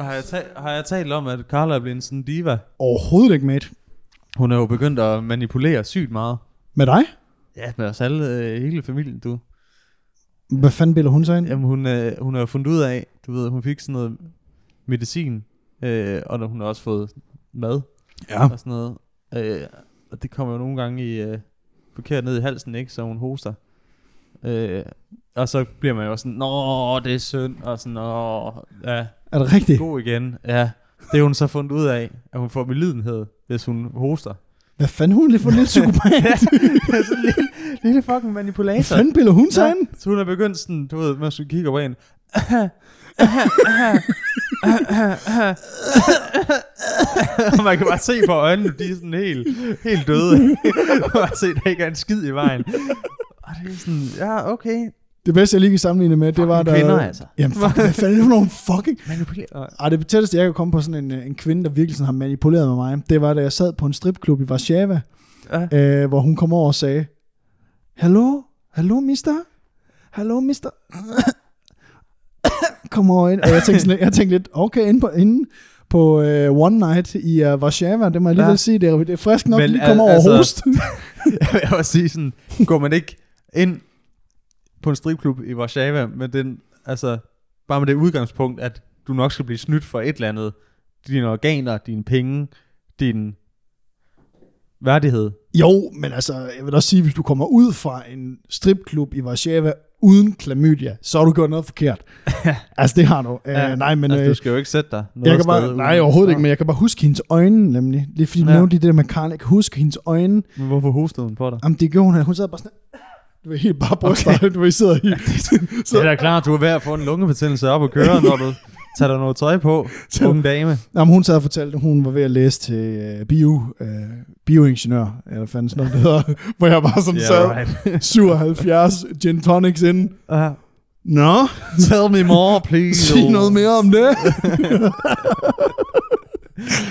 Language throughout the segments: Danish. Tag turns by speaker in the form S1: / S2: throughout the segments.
S1: Har jeg, ta- har jeg talt om, at Carla er blevet sådan en diva?
S2: Overhovedet ikke, mate.
S1: Hun er jo begyndt at manipulere sygt meget.
S2: Med dig?
S1: Ja, med os alle, øh, hele familien, du.
S2: Hvad fanden bilder hun sig ind?
S1: Jamen, hun, øh, hun har jo fundet ud af, du ved, hun fik sådan noget medicin, øh, og når hun har også fået mad
S2: Ja.
S1: og sådan noget. Øh, og det kommer jo nogle gange i, øh, forkert ned i halsen, ikke? Så hun hoster. Øh, og så bliver man jo sådan, nå, det er synd, og sådan, nå, ja,
S2: Er det rigtigt?
S1: god igen. Ja, det har hun så fundet ud af, at hun får melidenhed, hvis hun hoster.
S2: Hvad fanden hun lige for en lille psykopat?
S1: sådan en lille, lille fucking
S2: Hvad
S1: manipulator.
S2: fanden bilder hun sig ind?
S1: Så hun er begyndt sådan, du ved, man skulle kigge over en. Og man kan bare se på øjnene, de er sådan helt, helt døde. Man kan bare se, der ikke er en skid i vejen. Og det er sådan, ja, okay.
S2: Det bedste, jeg lige kan sammenligne med, det var,
S1: Fucking
S2: der...
S1: kvinder, altså.
S2: Jamen, fuck, hvad fanden er det for nogle fucking...
S1: Manipulere.
S2: Ej, det tætteste, jeg kan komme på sådan en, øh, en kvinde, der virkelig sådan har manipuleret med mig, det var, da jeg sad på en stripklub i Warszawa,
S1: Ja.
S2: øh, hvor hun kom over og sagde, Hallo? Hallo, mister? Hallo, mister? kom over ind. Og jeg tænkte, sådan, lidt- jeg tænkte lidt, okay, inde på, inde på øh, One Night i uh, Warszawa, det må jeg lige
S1: Ja.
S2: ja. sige, det er, det er frisk nok,
S1: Men
S2: Men, lige
S1: al-
S2: kommer over
S1: altså-
S2: altså... host.
S1: Jeg vil også sige sådan, går man ikke ind på en stripklub i Warszawa med den, altså, bare med det udgangspunkt, at du nok skal blive snydt for et eller andet. Dine organer, dine penge, din værdighed.
S2: Jo, men altså, jeg vil også sige, hvis du kommer ud fra en stripklub i Warszawa uden klamydia, så har du gjort noget forkert. altså, det har du. Ja, øh, nej, men...
S1: altså, du
S2: øh,
S1: skal jo ikke sætte dig noget
S2: jeg kan
S1: sted
S2: bare,
S1: uden-
S2: nej, overhovedet ikke, men jeg kan bare huske hendes øjne, nemlig. Det er fordi, du
S1: Ja.
S2: ja. nævnte lige det der med Karen, jeg kan huske hendes øjne.
S1: Men hvorfor hostede hun på dig?
S2: Jamen, det gjorde hun, hun sad bare sådan... Du var helt bare bryster, okay. du var sidder helt...
S1: Så. Det
S2: så,
S1: er da klart, du er ved at få en lungebetændelse op og køre, når du tager dig noget tøj på,
S2: Så-
S1: unge dame.
S2: jamen, hun sad og fortalte, at hun var ved at læse til øh, bio, øh, bioingeniør, eller fanden sådan noget, det hedder, hvor jeg bare sådan sad,
S1: right.
S2: 77 gin tonics inden.
S1: Uh,
S2: Nå,
S1: tell me more, please.
S2: sig noget mere om det.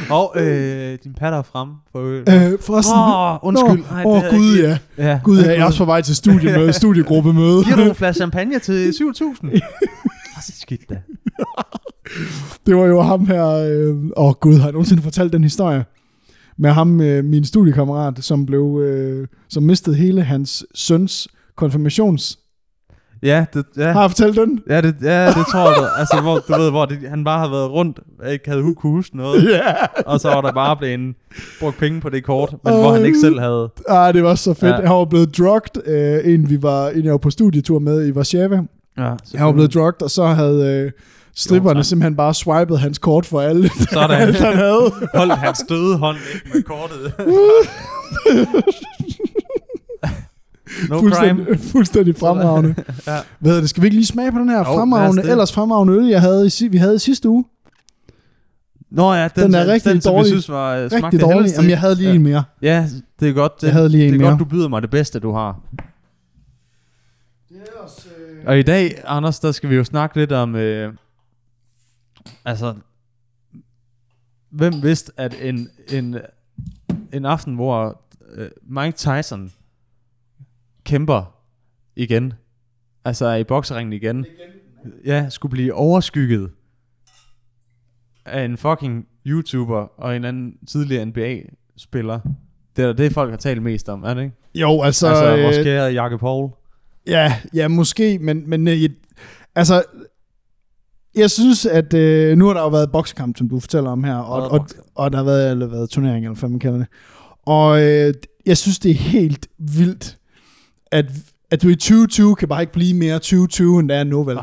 S1: Og øh, din patter er frem for øvrigt.
S2: Øh, forresten,
S1: Åh, undskyld.
S2: Åh,
S1: Nej,
S2: nej,
S1: det
S2: åh
S1: havde jeg
S2: gud
S1: ikke-
S2: ja.
S1: Ja.
S2: Gud ja, jeg er også på vej til studiemøde, studiegruppemøde.
S1: Giver du en flaske champagne til 7.000? Åh, så skidt da.
S2: Det var jo ham her, øh, åh gud, har jeg nogensinde fortalt den historie? Med ham, øh, min studiekammerat, som blev, øh, som mistede hele hans søns konfirmations.
S1: Ja, det, ja.
S2: Har jeg fortalt den?
S1: Ja, det, ja, det tror jeg. Altså, hvor, du ved, hvor det, han bare har været rundt, og ikke havde hu- kunne huske noget.
S2: Ja.
S1: Og så var der bare blevet en, brugt penge på det kort, men hvor han ikke selv havde...
S2: Ah, det var så fedt.
S1: Ja.
S2: Ja. Han var blevet drugged, øh, en vi var, en jeg var på studietur med i Warszawa.
S1: Ja,
S2: Han var blevet drugged, og så havde øh, stripperne
S1: Jo, tak.
S2: simpelthen bare swipet hans kort for alle,
S1: Sådan.
S2: alt han havde.
S1: Holdt hans døde hånd ikke med kortet. no crime.
S2: fuldstændig, fuldstændig fremragende.
S1: Ja.
S2: ja. Hvad hedder det? Skal vi ikke lige smage på den her
S1: Jo, lad os
S2: fremragende,
S1: det.
S2: ellers fremragende øl, jeg havde i, si- vi havde i sidste uge?
S1: Nå ja, den,
S2: Den er rigtig
S1: den, som
S2: dårlig.
S1: Jeg synes var, øh, smagte
S2: Rigtig dårlig.
S1: helst til.
S2: Jamen, jeg havde lige
S1: Ja.
S2: ja. en mere.
S1: Ja, det er godt. Det,
S2: Jeg havde lige en
S1: det er godt,
S2: mere.
S1: du byder mig det bedste, du har. Og i dag, Anders, der skal vi jo snakke lidt om... Øh, altså... Hvem vidste, at en, en, en aften, hvor øh, Mike Tyson kæmper igen, altså er i bokseringen igen, ja, skulle blive overskygget af en fucking YouTuber og en anden tidligere NBA-spiller. Det er da det, folk har talt mest om, er det ikke?
S2: Jo, altså...
S1: Så, altså, vores
S2: øh,
S1: kære Jakob Paul.
S2: ja, ja, måske, men, men øh, jeg- altså... Jeg synes, at øh, nu har der jo været boksekamp, som du fortæller om her,
S1: Der har
S2: og,
S1: været
S2: og, og der har været, eller været turnering, eller hvad man kalder det. Og øh, jeg synes, det er helt vildt, at, at du i 2020 kan bare ikke blive mere 2020, end der er nu, vel?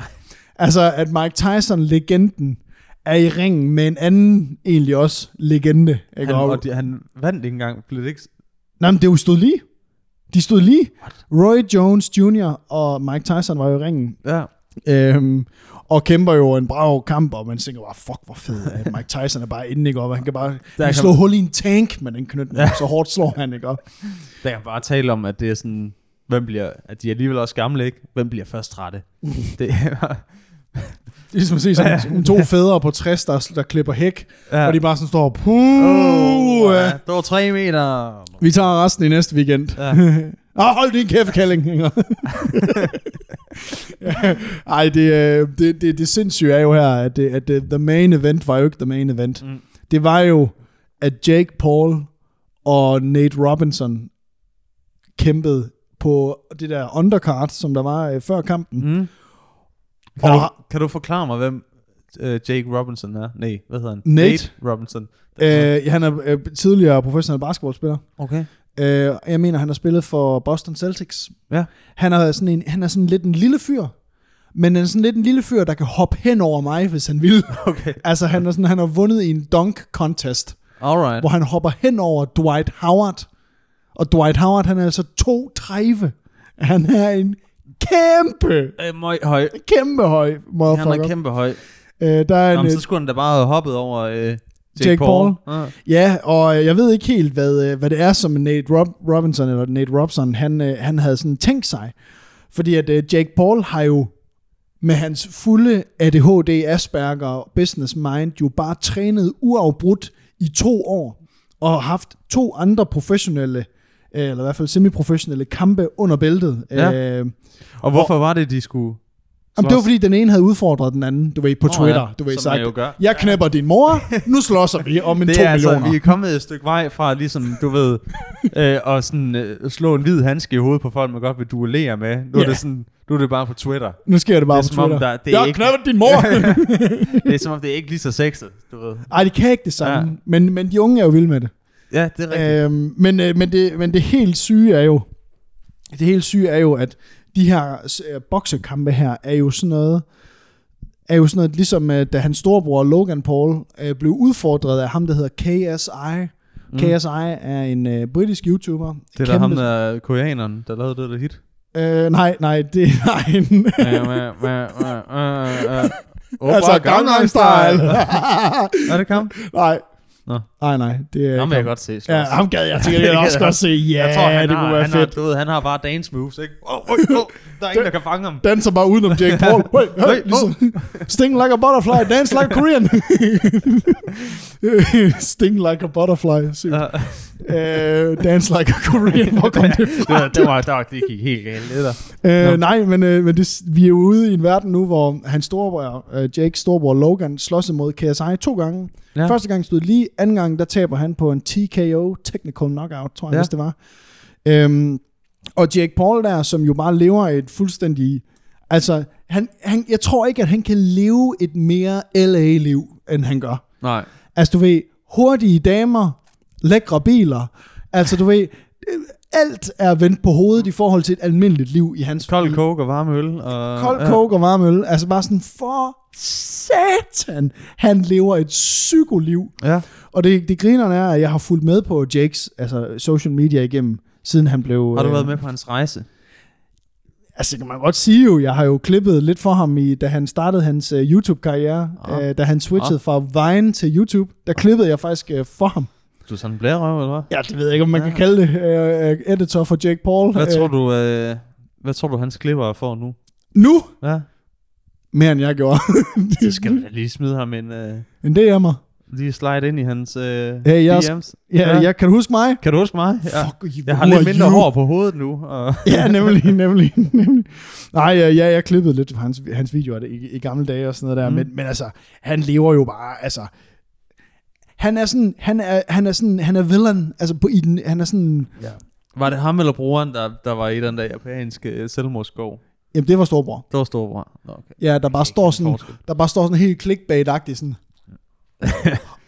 S2: Altså, at Mike Tyson, legenden, er i ringen med en anden egentlig også legende. Ikke?
S1: Han,
S2: Og-
S1: og de, han vandt ikke engang. Blev det ikke...
S2: Nej, men det jo stod lige. De stod lige. Roy Jones Jr. og Mike Tyson var jo i ringen.
S1: Ja.
S2: Øhm, og kæmper jo en brav kamp, og man tænker bare, fuck hvor fed, at Mike Tyson er bare inde, ikke? Og han kan bare han
S1: kan
S2: kan slå
S1: man-
S2: hul i en tank med den knytning, ja. så hårdt slår han, ikke? Og,
S1: Der kan bare tale om, at det er sådan... Hvem bliver... At de er alligevel også gamle, ikke? Hvem bliver først trætte? det er...
S2: Det er ligesom at se sådan nogle to fædre på 60, der, der klipper hæk,
S1: Ja.
S2: og øh, de Uh, bare sådan står,
S1: oh,
S2: puh,
S1: ja. Det var tre meter.
S2: vi tager resten i næste weekend.
S1: Ja.
S2: Nå, hold din kæft, Kalling. Inger. Ja. Ej, det, øh, det, det, det sindssyge er jo her, at, det, at det, the main event var jo ikke the main event.
S1: Mm.
S2: Mm. Det var jo, at Jake Paul og Nate Robinson kæmpede på det der undercard, som der var øh, før kampen.
S1: Mm. Kan,
S2: Og-
S1: du, kan du forklare mig, hvem øh, Jake Robinson er? Nej, hvad hedder han?
S2: Nate.
S1: Robinson.
S2: Øh, han er øh, tidligere professionel basketballspiller.
S1: Okay.
S2: Øh, jeg mener, han har spillet for Boston Celtics.
S1: Ja.
S2: Han er sådan, en, han er sådan lidt en lille fyr, men han er sådan lidt en lille fyr, der kan hoppe hen over mig, hvis han vil.
S1: Okay.
S2: altså, han, er sådan, han har vundet i en dunk contest,
S1: Alright.
S2: hvor han hopper hen over Dwight Howard. Og Dwight Howard, han er altså 2,30. Han er en kæmpe,
S1: Øh, møj, høj.
S2: kæmpe høj
S1: Han er
S2: motherfucker.
S1: kæmpe høj.
S2: Øh, der er en,
S1: Jamen,
S2: øh,
S1: så skulle han da bare have hoppet over øh, Jake,
S2: Jake Paul.
S1: Ja.
S2: Ja, og øh, jeg ved ikke helt, hvad, øh, hvad det er, som Nate Rob- Robinson, eller Nate Robson, han, øh, han havde sådan tænkt sig. Fordi at øh, Jake Paul har jo med hans fulde ADHD, Asperger og business mind jo bare trænet uafbrudt i to år, og haft to andre professionelle, øh, eller i hvert fald semiprofessionelle kampe under bæltet.
S1: Ja.
S2: Øh,
S1: Og hvorfor var det, de skulle...
S2: Jamen, det var
S1: Slås.
S2: fordi, den ene havde udfordret den anden, du ved, på
S1: Nå,
S2: Twitter.
S1: ja,
S2: Du ved,
S1: som
S2: sagt,
S1: man jo gør.
S2: jeg knæpper din mor, nu slåsser vi om en
S1: Det
S2: to
S1: er altså,
S2: millioner.
S1: vi er kommet et stykke vej fra ligesom, du ved, øh, at sådan, øh, slå en hvid handske i hovedet på folk, man godt vil duellere med. Nu er,
S2: Ja.
S1: det, sådan, nu er det bare på Twitter.
S2: Nu sker det bare
S1: Det er
S2: på
S1: som om,
S2: Twitter.
S1: der- det er
S2: jeg
S1: ikke-
S2: knæppet din mor!
S1: Det er som om, det er ikke lige så sexet, du ved.
S2: Ej, det kan ikke det samme.
S1: Ja.
S2: Ja. Men, men de unge er jo vilde med det.
S1: Ja, det er rigtigt.
S2: Øhm, men, øh, men det. Men det helt syge er jo, det helt syge er jo, at de her øh, boksekampe her er jo sådan noget, er jo sådan noget, ligesom øh, da hans storebror Logan Paul øh, blev udfordret af ham, der hedder KSI. Mm. KSI er en øh, britisk YouTuber.
S1: det er da ham, der koreaneren, der lavede det der hit.
S2: Øh, nej, nej, det er en...
S1: altså, Gangnam Style.
S2: Style.
S1: Er det kamp?
S2: nej.
S1: Nå.
S2: Nej, nej, det er...
S1: Ham vil jeg
S2: ikke-
S1: godt se. slås.
S2: Ja, ham gad jeg til gengæld
S1: Det
S2: også
S1: gad
S2: godt se. Ja,
S1: jeg tror, han
S2: det
S1: har,
S2: kunne være
S1: han
S2: fedt.
S1: Har, du ved, han har bare dance moves, ikke? Oh, oh, oh, der er ingen, der kan fange ham.
S2: Danser bare udenom Jake Paul. Hey,
S1: Hey,
S2: hey, ligesom. Sting like a butterfly, dance like a Korean. Sting like a butterfly. sygt.
S1: Uh,
S2: Øh, dance like a Korean. Hvor kom det
S1: det, var,
S2: fra?
S1: det, var, det, var, det gik helt galt. Det der. Nå.
S2: Øh, nej, men, øh, men det, vi er jo ude i en verden nu, hvor hans storebror, øh, Jake storebror Logan, slås imod KSI to gange.
S1: Ja.
S2: Ja. Første gang stod lige, anden gang der taber han på en TKO, technical knockout, tror jeg,
S1: Ja.
S2: ja. hvis det var. Øhm, og Jake Paul der, som jo bare lever et fuldstændig... Altså, han, han, jeg tror ikke, at han kan leve et mere LA-liv, end han gør.
S1: Nej.
S2: Altså du ved, hurtige damer, lækre biler. Altså du ved, øh, alt er vendt på hovedet i forhold til et almindeligt liv i hans...
S1: Kold coke og varm øl. Og,
S2: Kold coke og varm øl. Altså bare sådan, for satan, han lever et psykoliv.
S1: Ja. ja.
S2: Og det, det grinerne er, at jeg har fulgt med på Jakes altså social media igennem, siden han blev...
S1: Har du
S2: øh,
S1: været med på hans rejse?
S2: Altså, det kan man godt sige jo. Jeg har jo klippet lidt for ham, i, da han startede hans uh, YouTube-karriere.
S1: Ah.
S2: Uh, da han switchede fra Vine til YouTube, der klippede jeg faktisk uh, for ham.
S1: Du er sådan en blærerøv, eller hvad?
S2: Ja, det ved jeg ikke, om man kan kalde det øh, øh, editor for Jake Paul.
S1: Hvad
S2: Øh,
S1: tror du, øh, hvad tror du hans klipper får nu?
S2: Nu?
S1: Ja.
S2: Mere end jeg gjorde.
S1: Så skal du da lige smide ham en... Øh,
S2: Men det er mig.
S1: lige slide ind i hans øh,
S2: Hey, jeg er
S1: DM's.
S2: Ja,
S1: Ja.
S2: ja. Jeg, kan du huske mig?
S1: Kan du huske mig? Ja.
S2: Fuck, you,
S1: Jeg har
S2: who
S1: lidt
S2: are
S1: mindre
S2: you?
S1: hår på hovedet nu. Og
S2: ja, nemlig, nemlig, nemlig. Nej, ja, ja, jeg klippede lidt fra hans, hans videoer i, i gamle dage og sådan noget der,
S1: Mm.
S2: mm. men, men altså, han lever jo bare, altså, han er sådan, han er, han er sådan, han er villain, altså på, i den, han er sådan,
S1: ja. Var det ham eller broren, der, der var i den der japanske øh, selvmordsskov?
S2: jamen det var storbror.
S1: Det var storebror. Nå, okay.
S2: Ja, der bare står sådan,
S1: forskel.
S2: der bare står sådan helt clickbait-agtigt sådan,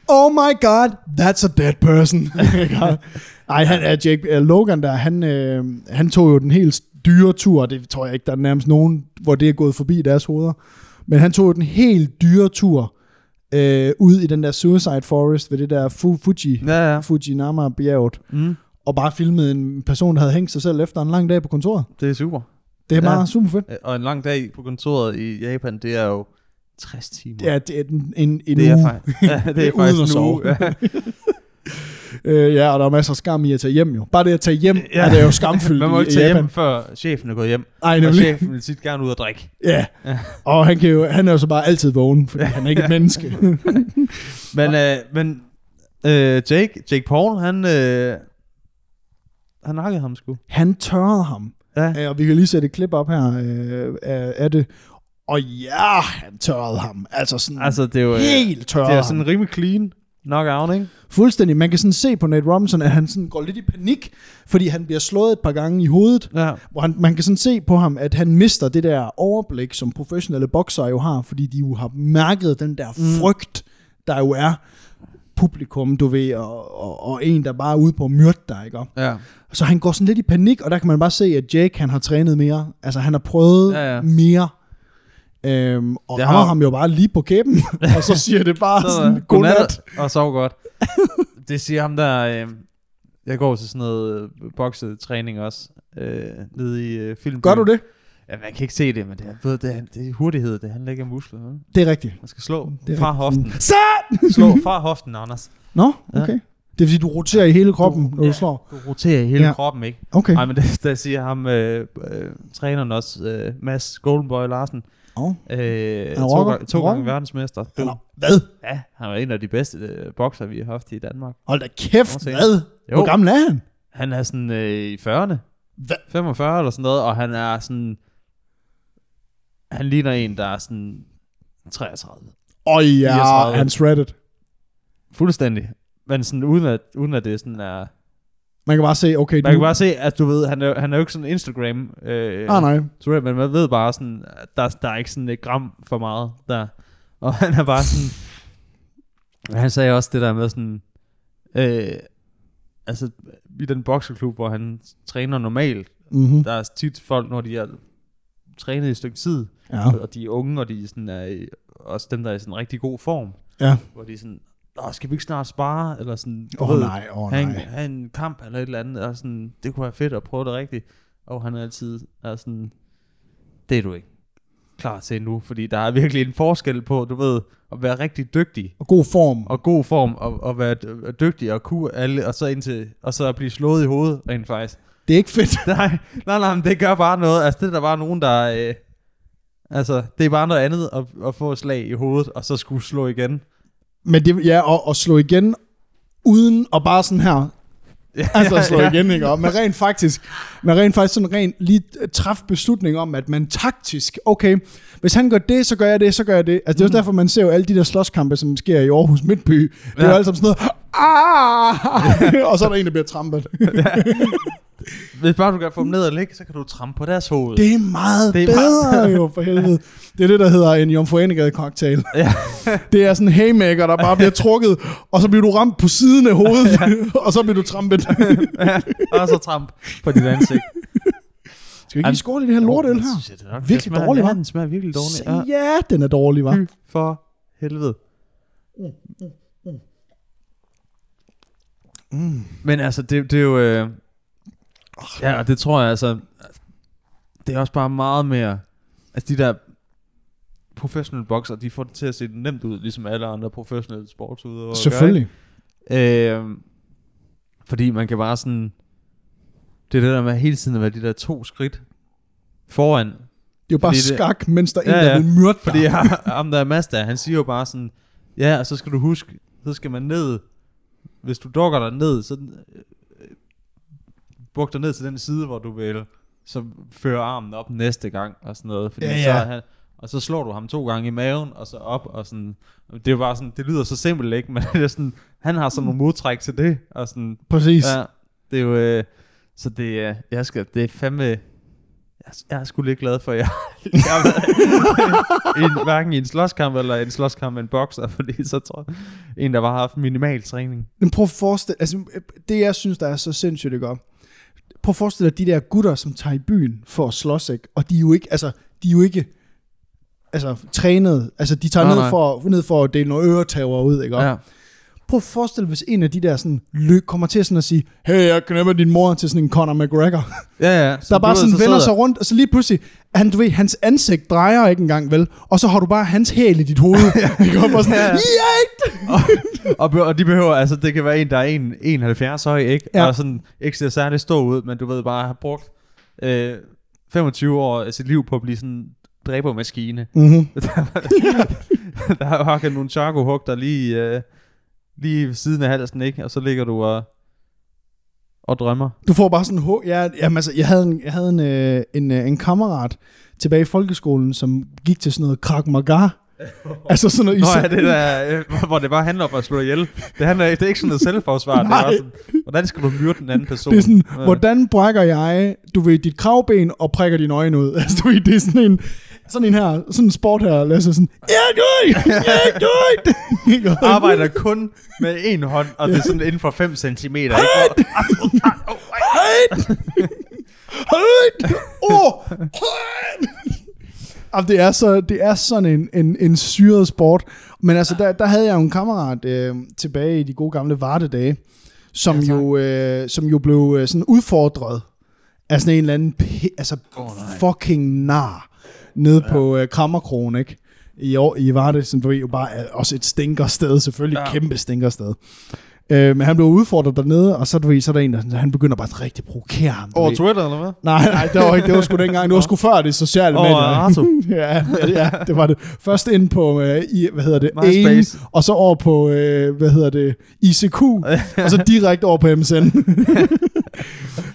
S2: oh my god, that's a dead person. Nej, han er Jake uh, Logan der, han, øh, han tog jo den helt dyre tur, og det tror jeg ikke, der er nærmest nogen, hvor det er gået forbi deres hoveder. Men han tog jo den helt dyre tur øh, ud i den der Suicide Forest ved det der Fu- Fuji,
S1: Ja, ja.
S2: Fujinama-bjerget,
S1: Mm,
S2: og bare filmede en person, der havde hængt sig selv efter en lang dag på kontoret.
S1: det er super.
S2: Det er
S1: Ja.
S2: bare super fedt.
S1: Øh, Og en lang dag på kontoret i Japan, det er jo 60 timer.
S2: Ja, det er en, en, en
S1: det er
S2: uge.
S1: faktisk, ja, det er
S2: Uden at
S1: faktisk en
S2: sove.
S1: uge. Ja.
S2: Øh, ja, og der er masser af skam i at tage hjem jo. Bare det at tage hjem, ja.
S1: Ja.
S2: er det jo skamfyldt
S1: Man må
S2: i-
S1: ikke
S2: i
S1: tage
S2: Japan.
S1: hjem, før chefen er gået hjem.
S2: Ej,
S1: Og
S2: nemlig.
S1: chefen vil tit gerne ud og drikke.
S2: Ja.
S1: Ja.
S2: Og han, kan jo, han er jo så bare altid vågen, fordi han er ikke et menneske.
S1: Men, øh, men øh, Jake, Jake Paul, han, øh, han nakkede ham sgu.
S2: han tørrede ham.
S1: Ja.
S2: Øh, Og vi kan lige sætte et klip op her øh, af, af det. Og ja, han tørrede ham. Altså sådan altså,
S1: Altså, det er jo øh,
S2: helt tørrede
S1: det er
S2: ham.
S1: sådan rimelig clean knockout, ikke?
S2: Fuldstændig. Man kan sådan se på Nate Robinson, at han sådan går lidt i panik, fordi han bliver slået et par gange i hovedet.
S1: Ja.
S2: Hvor han, man kan sådan se på ham, at han mister det der overblik, som professionelle bokser jo har, fordi de jo har mærket den der
S1: Mm.
S2: frygt, der jo er publikum, du ved, og, og, og en, der bare er ude på at myrde dig, ikke?
S1: Ja.
S2: Så han går sådan lidt i panik, og der kan man bare se, at Jake, han har trænet mere. Altså, han har prøvet
S1: Ja,
S2: ja,
S1: ja.
S2: ja. mere. Øhm, og
S1: Det
S2: det
S1: har-
S2: rammer ham jo bare lige på kæben, og så siger det bare
S1: Så, øh,
S2: sådan, godnat.
S1: Og sov godt. det siger ham der... Øh, jeg går til sådan noget øh, boksetræning også. Øh, nede i øh, filmen.
S2: Gør du det?
S1: Ja, man kan ikke se det, men det er, ved, det er, det er hurtighed. Det handler ikke om muskler. vel?
S2: Det er rigtigt.
S1: Man skal slå
S2: Det er
S1: fra hoften.
S2: Sat!
S1: Slå fra hoften, Anders.
S2: Nå,
S1: Ja.
S2: okay. Det vil sige, du roterer i hele kroppen, når du
S1: ja.
S2: slår.
S1: Du roterer hele ja.
S2: Ja.
S1: kroppen, ikke?
S2: Okay.
S1: Nej, men det, der siger ham, øh, øh, træneren også, øh, Mads Goldenboy Larsen.
S2: Oh.
S1: Øh, to,
S2: rocker.
S1: gange- to
S2: Han er
S1: gange
S2: rocker.
S1: verdensmester.
S2: Eller, hvad?
S1: Ja, han var en af de bedste øh, bokser, vi har haft i Danmark.
S2: Hold da kæft,
S1: Overset.
S2: hvad?
S1: Jo.
S2: Hvor gammel er han?
S1: Han er sådan øh, i 40'erne,
S2: Hva?
S1: 45 eller sådan noget, og han er sådan... Han ligner en, der er sådan 33.
S2: Åh ja,
S1: 39.
S2: han shredded.
S1: Fuldstændig. Men sådan uden at, uden at det sådan er...
S2: Man kan bare se, okay,
S1: Man kan
S2: du...
S1: bare se, at du ved, han er, han er jo ikke sådan Instagram... Øh,
S2: Ah, nej.
S1: Sorry, men man ved bare sådan, at der, der er ikke sådan et gram for meget der. Og han er bare sådan... han sagde også det der med sådan... Øh, altså, i den bokseklub, hvor han træner normalt,
S2: Mm-hmm.
S1: der er tit folk, når de er trænet i et stykke tid,
S2: Ja.
S1: og de er unge, og de sådan er i, også dem, der er i sådan rigtig god form,
S2: Ja.
S1: hvor de er sådan, Åh, skal vi ikke snart spare, eller sådan, du
S2: Åh
S1: ved,
S2: oh, nej, åh oh,
S1: have, en,
S2: nej.
S1: have en kamp eller et eller andet, og sådan, det kunne være fedt at prøve det rigtigt. Og han er altid er sådan, det er du ikke klar til nu, fordi der er virkelig en forskel på, du ved, at være rigtig dygtig
S2: Og god form.
S1: og god form, og, og være d- øh, dygtig og kunne alle, og så, indtil, og så at blive slået i hovedet rent faktisk.
S2: Det er ikke fedt.
S1: Nej, nej, nej, men det gør bare noget. Altså, det er der bare nogen, der... Øh, altså, det er bare noget andet at, at få et slag i hovedet, og så skulle slå igen.
S2: Men det, ja, og, og slå igen, uden at bare sådan her, altså slå
S1: ja.
S2: igen, ikke? Og man rent faktisk, man rent faktisk sådan rent lige træffe beslutning om, at man taktisk, okay, hvis han gør det, så gør jeg det, så gør jeg det. Altså det er
S1: Mm.
S2: også derfor, man ser jo alle de der slåskampe, som sker i Aarhus Midtby. Det er
S1: Ja.
S2: jo alt sammen sådan noget, "Ah!" og så er der en, der bliver trampet.
S1: Hvis bare du kan få dem ned og ligge, så kan du trampe på deres hoved.
S2: Det er meget
S1: Det
S2: det
S1: er
S2: er bedre jo, for helvede. Det er det, der hedder en jomfruanegade cocktail.
S1: Ja.
S2: Det er sådan en haymaker, der bare bliver trukket, og så bliver du ramt på siden af hovedet, og så bliver du trampet.
S1: og så tramp på dit ansigt.
S2: Skal vi ikke
S1: Jamen,
S2: lige skåle i det her lortøl her?
S1: Synes jeg, det er nok,
S2: Virkelig
S1: det smager,
S2: dårligt,
S1: ja,
S2: hva'?
S1: den smager virkelig dårligt. Ja. Mm.
S2: Ja, den er dårlig, var.
S1: Fy for helvede. Men altså, det, det er jo... Øh, ja, og det tror jeg altså... Det er også bare meget mere... Altså, de der professionelle bokser, de får det til at se nemt ud, ligesom alle andre professionelle sportsudøvere.
S2: Selvfølgelig.
S1: Gør, ikke? øh, fordi man kan bare sådan... Det er det der med hele tiden at være de der to skridt foran,
S2: Det er jo bare
S1: Fordi det-
S2: skak, mens der er en,
S1: Ja, ja.
S2: der vil myrde dig.
S1: fordi ja. ham der er Mazda, han siger jo bare sådan, ja, og så skal du huske, så skal man ned, hvis du dukker dig ned, så øh, buk dig ned til den side, hvor du vil, så fører armen op næste gang, og sådan noget, fordi
S2: Ja,
S1: ja, ja. så
S2: ja.
S1: er han, og så slår du ham to gange i maven, og så op, og sådan, det er jo bare sådan, det lyder så simpelt, ikke, men det er sådan, han har sådan nogle modtræk til det, og sådan,
S2: Præcis. Ja.
S1: ja, det er jo, øh, så det er, jeg skal, det er fandme, jeg, jeg er sgu lidt glad for, at jeg, jeg har været i en, hverken i en slåskamp eller en slåskamp med en bokser, fordi så tror jeg, en, der bare har haft minimal træning.
S2: Men prøv at forestille, altså, det jeg synes, der er så sindssygt, ikke? Prøv at forestille dig de der gutter, som tager i byen for at slås, ikke? Og de er jo ikke, altså, de er jo ikke, altså, trænet. Altså, de tager
S1: Nej,
S2: nej,
S1: nej.
S2: ned, For, ned for at dele nogle øretæver ud, ikke? Ja. Prøv at forestille dig, hvis en af de der sådan, løb kommer til sådan at sige, hey, jeg knæpper din mor til sådan en Conor McGregor.
S1: Ja, ja.
S2: der
S1: Som
S2: bare
S1: du ved,
S2: sådan
S1: så
S2: vender
S1: sidder-
S2: sig rundt, og så lige pludselig, han, du ved, hans ansigt drejer ikke engang, vel? Og så har du bare hans hæl i dit hoved. Ikke? Og bare sådan,
S1: Ja, ja.
S2: "Jægt!"
S1: og, be- og de behøver, altså det kan være en, der er en, 71 høj, ikke?
S2: Ja.
S1: Ja. Og sådan ikke ser særlig stor ud, men du ved bare, har brugt øh, 25 år af sit liv på at blive sådan en dræbermaskine.
S2: Mhm.
S1: der har hakket nogle charco der lige, øh, lige ved siden af halsen, ikke? Og så ligger du og, og drømmer.
S2: Du får bare sådan en hår. Ja, jamen, altså, jeg havde, en, jeg havde en, øh, en, øh, en kammerat tilbage i folkeskolen, som gik til sådan noget krak maga. altså sådan noget
S1: Nå
S2: især-
S1: ja, det der, øh, hvor det bare handler om at slå dig ihjel. Det, handler, det er ikke sådan noget selvforsvar. Det er
S2: Nej.
S1: bare sådan, hvordan skal du myrde den anden person?
S2: Det er sådan,
S1: Øh.
S2: hvordan brækker jeg, du ved, dit kravben og prikker dine øjne ud. Altså, du ved, det er sådan en, sådan en her, sådan en sport her, Lasse, sådan, ja, du, ja, du,
S1: arbejder kun med en hånd, og det er sådan inden for 5 cm. Ikke? Og,
S2: Højt! Højt! Åh! Højt! Jamen, det, er så, det er sådan en, en, en syret sport. Men altså, der, der havde jeg jo en kammerat øh, tilbage i de gode gamle Varte-dage, som, ja, jo, øh, som jo blev øh, sådan udfordret af sådan en eller anden p- altså, oh, fucking nar nede ja. på øh, Krammerkrogen, ikke? I, år, I Varte, som du ved jo bare er også et stinkersted, selvfølgelig ja.
S1: Ja.
S2: kæmpe stinkersted. Øh, men han blev udfordret dernede, og så, du ved, så er der en, der sådan- han begynder bare at rigtig provokere ham. du
S1: over
S2: ved.
S1: Twitter, eller hvad?
S2: Nej, nej, det var, ikke, det var sgu dengang. Det var sgu før det sociale
S1: Over
S2: medier.
S1: Arto.
S2: ja, ja, det var det. Først ind på, øh, i, hvad hedder det, AIM,
S1: MySpace.
S2: og så over på, øh, hvad hedder det, ICQ, og så direkte over på MSN.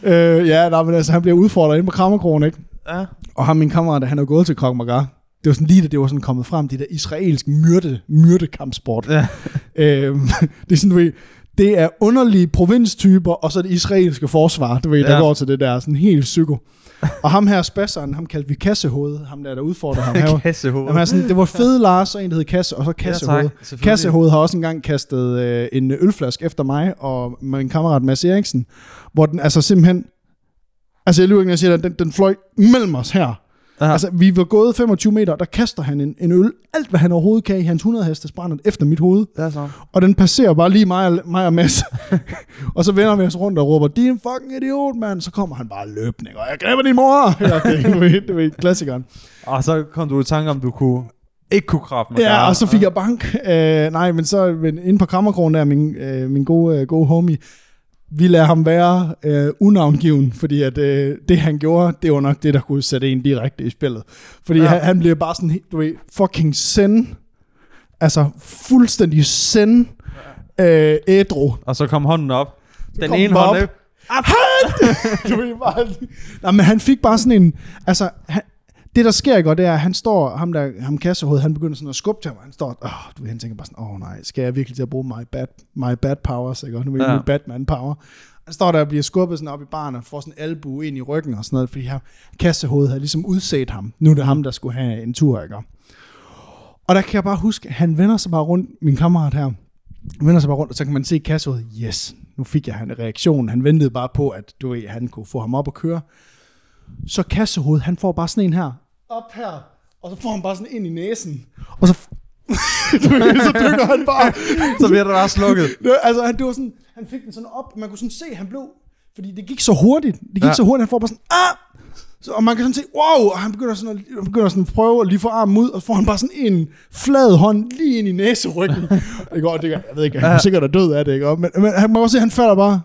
S2: øh, ja, nej, men altså, han bliver udfordret ind på Krammerkrogen, ikke?
S1: Ja.
S2: Og ham, min kammerat, han er gået til Krav Maga. Det var sådan lige, da det var sådan kommet frem, det der israelske myrde, myrdekampsport.
S1: Ja.
S2: Øhm, det er sådan, du ved, det er underlige provinstyper, og så det israelske forsvar, du ved, der
S1: Ja.
S2: går til det der, sådan helt psyko. Og ham her, spasseren, ham kaldte vi kassehoved, ham der, der udfordrer ham. Han var,
S1: Kassehoved.
S2: jamen, altså, det var fede Lars, og en, der hed Kasse, og så Kassehoved.
S1: tak, selvfølgelig.
S2: Kassehoved har også engang kastet øh, en ølflaske efter mig og min kammerat Mads Eriksen, hvor den altså simpelthen... Altså, jeg lyver ikke, når jeg siger det, den, den fløj mellem os her.
S1: Ja.
S2: Altså, vi var gået 25 meter, der kaster han en, en øl, alt hvad han overhovedet kan i hans 100 hestes brændert efter mit hoved,
S1: Det er sådan.
S2: og den passerer bare lige mig, og- mig og Mads. og så vender vi os rundt og råber, din fucking idiot, mand. Så kommer han bare løbende, ikke? og jeg griber din mor. Ja, det er jo helt- det er jo helt klassikeren.
S1: Og så kom du i tanke om, du kunne ikke kunne krabbe med
S2: Ja, og så fik jeg bank. Øh, nej, men så men inde på Kammerkrogen der, min, øh, min gode, øh, gode homie, vi lader ham være øh, unavngiven, fordi at, øh, det, han gjorde, det var nok det, der kunne sætte en direkte i spillet. Fordi ja.
S1: Ja.
S2: han, han bliver bare sådan, helt, du ved, fucking send. Altså, fuldstændig send. Øh, ædru.
S1: Og så kom hånden op. Den
S2: kom
S1: ene
S2: den
S1: hånd
S2: op.
S1: op.
S2: du ved bare... Nej, men han fik bare sådan en... Altså, han, det der sker, ikke, og det er, at han står, ham der, ham kassehoved, han begynder sådan at skubbe til ham, og han står, åh, du ved, han tænker bare sådan, åh nej, skal jeg virkelig til at bruge my bad, my bad powers, ikke? Og nu er
S1: Ja.
S2: ja. Batman power. Han står der og bliver skubbet sådan op i baren, og får sådan en albu ind i ryggen og sådan noget, fordi her kassehoved havde ligesom udset ham. Nu er det ham, der skulle have en tur, ikke? Og der kan jeg bare huske, han vender sig bare rundt, min kammerat her, vender sig bare rundt, og så kan man se kassehovedet, yes, nu fik jeg han reaktionen. Han ventede bare på, at du ved, han kunne få ham op og køre. Så kassehovedet, han får bare sådan en her, op her, og så får han bare sådan ind i næsen. Og så, du ved, så dykker han bare
S1: Så bliver der bare slukket.
S2: det, altså, han, det var sådan, han fik den sådan op, og man kunne sådan se, han blev... Fordi det gik så hurtigt. Det gik ja.
S1: Ja.
S2: så hurtigt, han får bare sådan... Ah! Så, og man kan sådan se, wow, og han begynder sådan at, han begynder sådan at prøve at lige få armen ud, og så får han bare sådan en flad hånd lige ind i næseryggen. det går, det, gør- jeg ved ikke, han er sikkert er død af det, ikke? Og- Men, men han må også se, han falder bare.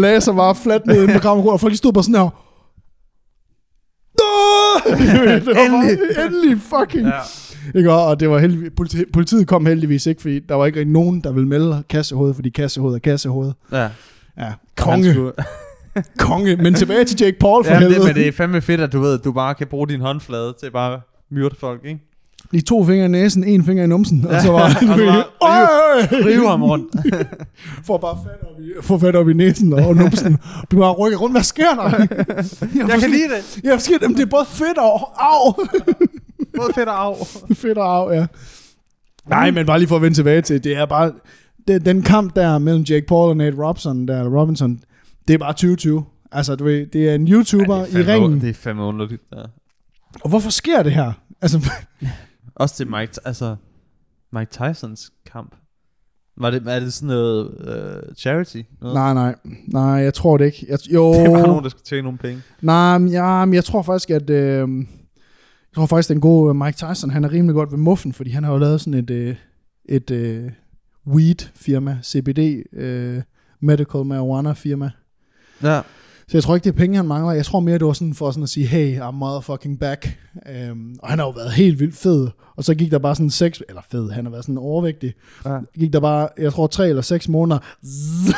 S2: Lagde sig bare fladt ned i en program, og folk de stod bare sådan her. "Nå!" Det var bare-
S1: Endelig.
S2: endelig fucking.
S1: Ja.
S2: Ikke? Og og det var heldigvis, politi, politiet kom heldigvis ikke, fordi der var ikke rigtig nogen, der ville melde kassehovedet, fordi kassehovedet er kassehovedet.
S1: ja.
S2: Ja,
S1: Han
S2: konge,
S1: skulle-
S2: konge. Men tilbage til Jake Paul for
S1: Ja, men det,
S2: helvede.
S1: men det er fandme fedt, at du ved, at du bare kan bruge din håndflade til bare at myrde folk, ikke?
S2: Lige to fingre i næsen, en finger i numsen, og så var
S1: og så bare
S2: Øj!
S1: Rive ham rundt.
S2: Får bare fat op i, får fat op i næsen og numsen. Du bare rykker rundt. Hvad sker der?
S1: Jeg kan lide det.
S2: Ja, sker, jamen, det er både fedt og af.
S1: Både fedt og af.
S2: fedt og af, ja. Nej, men bare lige for at vende tilbage til, det er bare... Det, den kamp der mellem Jake Paul og Nate Robinson, der, eller Robinson, det er bare 2020. Altså, du ved, det er en YouTuber
S1: Ej, det er
S2: i
S1: fandme-
S2: ringen.
S1: Det er fandme underligt. Ja.
S2: Og hvorfor sker det her? Altså,
S1: Også til Mike, altså Mike Tysons kamp. Var det, er det sådan noget øh, charity? Noget?
S2: Nej, nej. Nej, jeg tror det ikke. Jeg, jo,
S1: Det var nogen, der skulle tjene nogle penge.
S2: nej, men, ja, men jeg tror faktisk, at... Øh, jeg tror faktisk, den gode øh, Mike Tyson, han er rimelig godt ved muffen, fordi han har jo lavet sådan et, øh, et øh, weed-firma, CBD, øh, medical marijuana-firma.
S1: Ja.
S2: Så jeg tror ikke, det er penge, han mangler. Jeg tror mere, det var sådan for sådan at sige, hey, I'm motherfucking back. Øhm, og han har jo været helt vildt fed. Og så gik der bare sådan seks, eller fed, han har været sådan overvægtig.
S1: Ja.
S2: Gik der bare, jeg tror, tre eller seks måneder, zzz,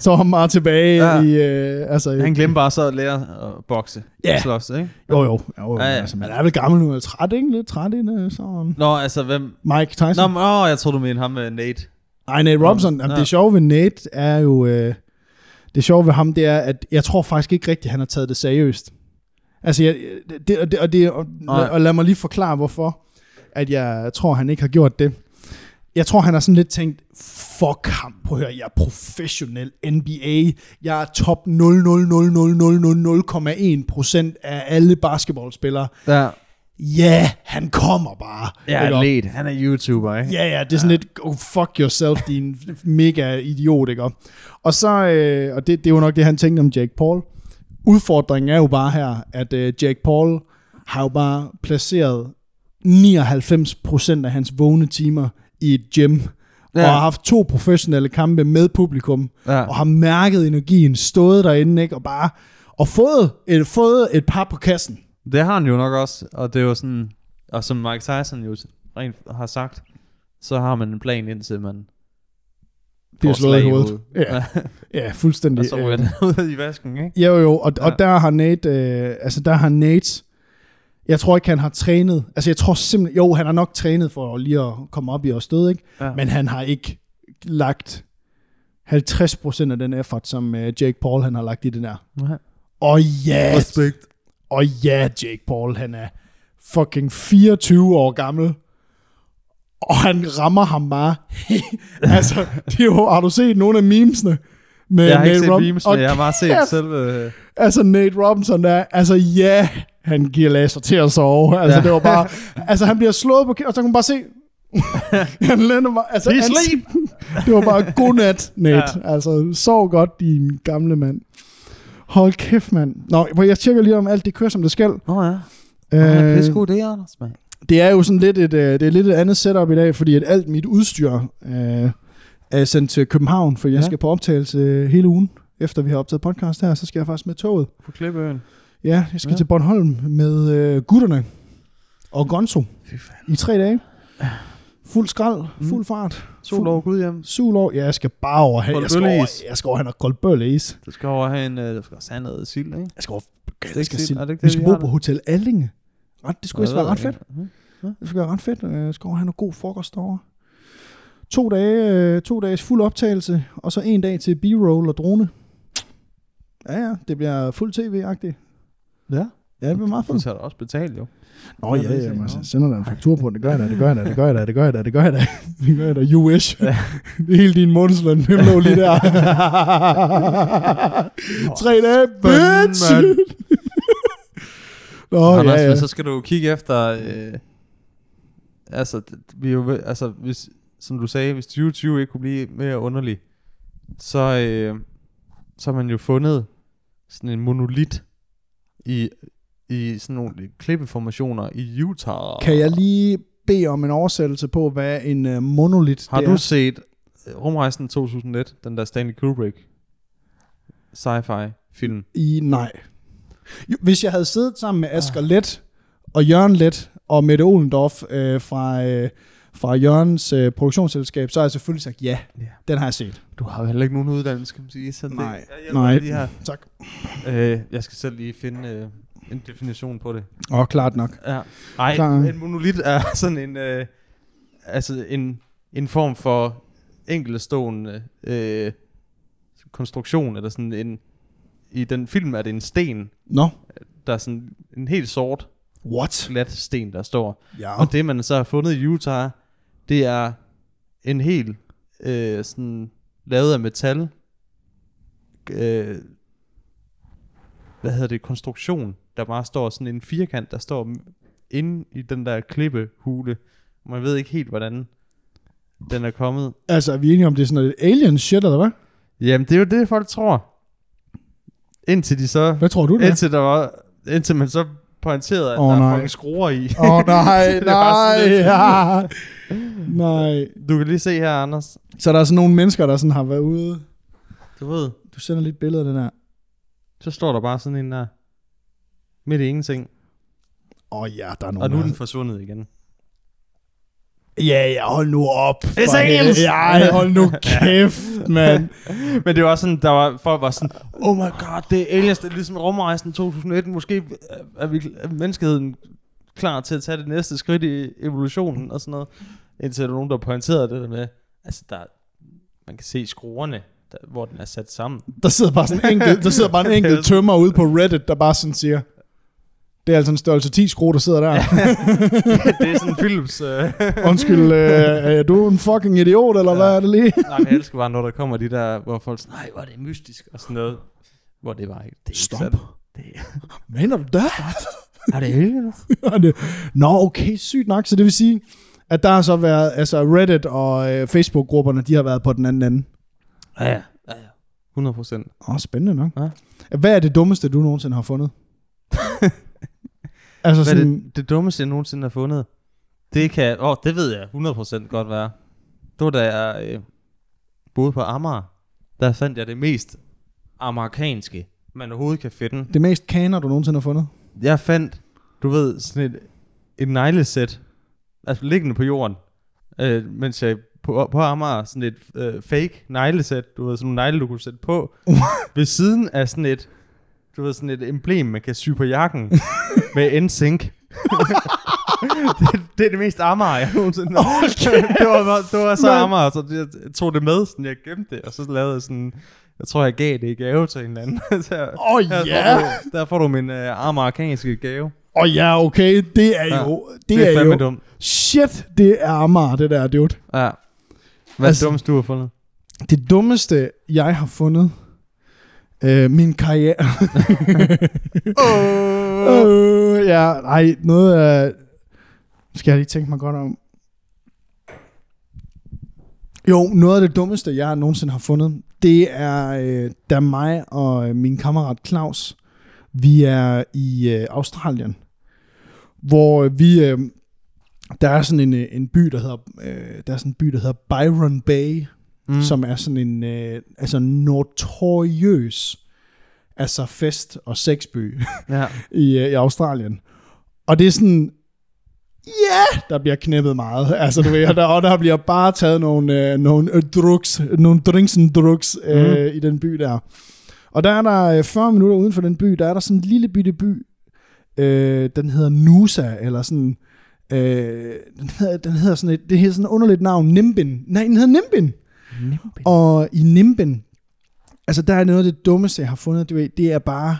S2: så var han bare tilbage
S1: Ja.
S2: ja. i, øh, altså,
S1: Han glemte bare så at lære at bokse.
S2: Ja.
S1: Slås, ikke?
S2: Jo, jo, jo, jo
S1: Ja,
S2: ja,
S1: ja.
S2: ja. Altså, man er vel gammel nu, er træt, ikke? Lidt træt inde, så... um,
S1: Nå, altså hvem?
S2: Mike
S1: Nå,
S2: Tyson.
S1: men, åh, jeg tror du mente ham med Nate.
S2: Nej, Nate Robinson. Jamen,
S1: Ja.
S2: Det sjove ved Nate er jo... Øh, det sjove ved ham, det er, at jeg tror faktisk ikke rigtigt, han har taget det seriøst. Altså, jeg, det, og, det, og, det, og,
S1: Nej.
S2: og lad mig lige forklare, hvorfor at jeg tror, han ikke har gjort det. Jeg tror, han har sådan lidt tænkt, fuck ham, prøv at høre, jeg er professionel NBA, jeg er top 0,00000,1% af alle basketballspillere.
S1: Ja.
S2: Ja, han kommer bare.
S1: Ja,
S2: Ikke?
S1: Nate. Han er YouTuber, ikke?
S2: Ja, ja, det er sådan lidt, oh, fuck yourself, din mega idiot, ikke? Og så, øh, og det, det er jo nok det, han tænkte om Jake Paul. Udfordringen er jo bare her, at øh, Jake Paul har jo bare placeret 99% af hans vågne timer i et gym, ja.
S1: Ja.
S2: og har haft to professionelle kampe med publikum,
S1: Ja.
S2: og har mærket energien, stået derinde, ikke? Og bare, og fået et, fået et par på kassen.
S1: Det har han jo nok også, og det er jo sådan, og som Mike Tyson jo rent har sagt, så har man en plan, indtil man
S2: Bliver
S1: får
S2: slået i
S1: slag
S2: hovedet. Ja,
S1: Ja.
S2: ja, fuldstændig.
S1: og så ryger
S2: øh,
S1: den ud i vasken, ikke?
S2: Jo jo, og, ja.
S1: Ja.
S2: og der har Nate, øh, altså der har Nate, jeg tror ikke han har trænet, altså jeg tror simpelthen, jo han har nok trænet for lige at komme op i og stød, ikke?
S1: Ja.
S2: men han har ikke lagt 50% af den effort, som øh, Jake Paul han har lagt i den der. Og ja,
S1: Respekt.
S2: og ja Jake Paul han er fucking 24 år gammel, og han rammer ham bare. altså, det er jo, har du set nogle af memesene? Med
S1: Jeg har ikke
S2: Nate
S1: set
S2: Rob-
S1: memes,
S2: Og
S1: men jeg har bare set
S2: kæft,
S1: selve... øh,
S2: Altså Nate Robinson der, altså ja, han giver laser til at sove. Altså
S1: Ja.
S2: ja. det var bare, altså han bliver slået på, kæ- og så kan man bare se, han lander bare, altså
S1: He's
S2: ans-
S1: asleep!
S2: det var bare godnat, Nate.
S1: Ja.
S2: Ja. Altså sov godt, din gamle mand. Hold kæft, mand. Nå, hvor jeg tjekker lige om alt det kører, som det skal.
S1: Nå ja,
S2: Øh,
S1: det, Anders, mand.
S2: det er jo sådan lidt et, øh, det er lidt et andet setup i dag, fordi at alt mit udstyr øh, er sendt til København, for jeg
S1: Ja.
S2: ja. skal på optagelse øh, hele ugen, efter vi har optaget podcast her, så skal jeg faktisk med toget.
S1: På Klippeøen.
S2: Ja, jeg skal
S1: Ja.
S2: ja. til Bornholm med øh, gutterne og Gonzo
S1: Fy fanden.
S2: i tre dage. Fuld skrald,
S1: Mm.
S2: fuld fart.
S1: Sol over Gud hjem.
S2: Sulov. Ja, jeg skal bare over have. Jeg skal
S1: Koldbølleis.
S2: over, jeg skal over have noget koldbølleis.
S1: Du skal over have en... øh, Du skal også have noget sild, ikke?
S2: Jeg skal over...
S1: ikke
S2: Jeg skal
S1: sild. Er
S2: sige,
S1: det ikke
S2: vi
S1: det,
S2: skal
S1: vi
S2: bo
S1: har
S2: på
S1: der?
S2: Hotel Allinge. Ret, det skulle
S1: Jeg
S2: ellers være
S1: ved
S2: ret
S1: det
S2: fedt.
S1: ikke. Mhm.
S2: Det skulle være ret fedt. Øh, Jeg skal over have noget god frokost derovre. To, dage, øh, to dages fuld optagelse, og så en dag til B-roll og drone. Ja, ja, det bliver fuld tv-agtigt.
S1: Ja.
S2: Ja, det bliver meget fedt.
S1: Du tager da også betalt, jo.
S2: Nå
S1: Ja,
S2: ja,
S1: det
S2: ja,
S1: er
S2: jamen,
S1: sådan, nå.
S2: altså, jeg sender dig en faktur på, det gør jeg da, det gør jeg da, det gør jeg da, det gør jeg da, det gør jeg da, det gør jeg da, you wish.
S1: Ja.
S2: det er hele din månedsløn, det lå lige der. Tre dage, bitch!
S1: mand.
S2: Nå,
S1: Anders,
S2: ja, ja.
S1: men så skal du jo kigge efter... Øh, altså, d- vi er jo, ved- altså hvis, som du sagde, hvis 2020 ikke kunne blive mere underlig, så, øh, så har man jo fundet sådan en monolit i, i sådan nogle klippeformationer i Utah.
S2: Kan jeg lige bede om en oversættelse på, hvad en uh, monolit
S1: Har
S2: det
S1: du
S2: er?
S1: set øh, Rumrejsen 2001, den der Stanley Kubrick sci-fi film?
S2: I, nej. Jo, Hvis jeg havde siddet sammen med Asger Let og Jørgen Let og Mette Olendorf øh, fra, øh, fra Jørgens øh, produktionsselskab, så har jeg selvfølgelig sagt ja.
S1: Ja.
S2: Den har jeg set.
S1: Du har jo heller ikke nogen uddannelse, kan man sige. Så
S2: Nej,
S1: det, jeg hjælper
S2: nej.
S1: dig lige her.
S2: Tak.
S1: Øh, jeg skal selv lige finde øh, en definition på det.
S2: Åh, klart nok.
S1: Ja. Ej,
S2: Klar.
S1: en monolit er sådan en, øh, altså en, en form for enkeltstående øh, konstruktion, eller sådan en, i den film er det en sten,
S2: Nå.
S1: der er sådan en helt sort,
S2: What?
S1: glat sten, der står.
S2: Ja.
S1: Og det, man så har fundet i Utah, det er en helt øh, sådan lavet af metal, øh, hvad hedder det, konstruktion, der bare står sådan en firkant, der står m- inde i den der klippehule. Man ved ikke helt, hvordan den er kommet.
S2: Altså, er vi enige om, det er sådan noget alien shit, eller hvad?
S1: Jamen, det er jo det, folk tror. Indtil de så...
S2: Hvad tror du, det er?
S1: Indtil, der var, indtil man så pointerede, at
S2: Åh,
S1: oh, der
S2: nej.
S1: er fucking skruer i.
S2: Åh, oh, nej,
S1: Det er bare
S2: nej,
S1: sådan lidt-
S2: ja. nej.
S1: Du kan lige se her, Anders.
S2: Så der er sådan nogle mennesker, der sådan har været ude.
S1: Du ved,
S2: Du sender lidt billeder af den her.
S1: så står der bare sådan en der midt i ingenting.
S2: Åh oh, ja, der er nogen
S1: Og nu er
S2: der-
S1: den forsvundet igen.
S2: Ja, ja, hold nu op.
S1: It's
S2: For
S1: aliens!
S2: helvede. Ja, hold nu kæft, mand.
S1: Men det var sådan, der var, folk var sådan, oh my god, det er aliens, det er ligesom rumrejsen 2001, måske er, vi, er menneskeheden klar til at tage det næste skridt i evolutionen og sådan noget. Indtil der var nogen, der pointerede det der med, altså der, man kan se skruerne, der, hvor den er sat sammen.
S2: Der sidder bare, sådan en enkelt, der sidder bare en enkelt tømmer ude på Reddit, der bare sådan siger, det er altså en størrelse 10 skru, der sidder der.
S1: det er sådan Philips... Øh.
S2: Undskyld, øh, er du en fucking idiot, eller ja. hvad er det lige?
S1: Nej, men jeg elsker bare, når der kommer de der, hvor folk sådan, nej, hvor er det mystisk, og sådan noget. Hvor det var ikke, det er ikke
S2: Stop.
S1: sådan. Det er,
S2: Mener du det?
S1: er det aliens?
S2: Og det- Nå, okay, sygt nok. Så det vil sige, at der har så været, altså Reddit og øh, Facebook-grupperne, de har været på den anden ende.
S1: Ja, ja, ja, ja. 100 procent.
S2: Åh, oh, spændende nok.
S1: Ja.
S2: Hvad er det dummeste, du nogensinde har fundet? altså
S1: Hvad er
S2: sådan,
S1: det, det dummeste, jeg nogensinde har fundet? Det kan, åh, det ved jeg 100 procent godt være. Det var da jeg øh, boede på Amager, der fandt jeg det mest amerikanske, man overhovedet kan finde.
S2: det mest kaner, du nogensinde har fundet?
S1: Jeg fandt, du ved, sådan et, et neglesæt, altså liggende på jorden, øh, mens jeg på, på Amager, sådan et øh, fake neglesæt, du ved, sådan nogle negle, du kunne sætte på, ved siden af sådan et, du ved, sådan et emblem, man kan sy på jakken, med NSYNC. det, det er det mest Amager, jeg nogensinde har. det, var, bare- det var så
S2: mand.
S1: Amager, så jeg, jeg tog det med, sådan jeg gemte det, og så lavede jeg sådan, jeg tror, jeg gav det i gave til en eller anden. så jeg,
S2: Åh oh,
S1: her
S2: ja!
S1: får du, der får du min øh, amerikanske gave.
S2: Åh oh, ja, okay, det er
S1: Ja,
S2: jo, det,
S1: Det, det er,
S2: er,
S1: fandme
S2: jo,
S1: dumt.
S2: shit, det er Amager, det der, dude.
S1: Ja. Hvad altså,
S2: Altså-
S1: dumt, du har fundet?
S2: Det dummeste, jeg har fundet, øh, min karriere,
S1: Oh.
S2: Øh, ja, nej, noget af... Nu skal jeg lige tænke mig godt om. Jo, noget af det dummeste, jeg nogensinde har fundet, det er, øh, da mig og øh, min kammerat Claus, vi er i øh, Australien, hvor øh, vi... Øh, der er sådan en, øh, en by, der hedder, øh, der er sådan en by, der hedder Byron Bay, mm. som er sådan en øh, altså notoriøs altså fest- og sexby
S1: Ja.
S2: i, øh, i Australien. Og det er sådan, ja, yeah, der bliver knippet meget. Altså, du ved, og der, og der bliver bare taget nogle, øh, nogle øh, drugs, nogle drinks and drugs øh, mm. i den by der. Og der er der øh, 40 minutter uden for den by, der er der sådan en lille bitte by, øh, den hedder Nusa, eller sådan, øh, den, hedder, den hedder sådan et, det hedder sådan et underligt navn, Nimbin. Nej, den hedder Nimbin. Og i Nimben, altså der er noget af det dummeste, jeg har fundet, du ved, det er bare,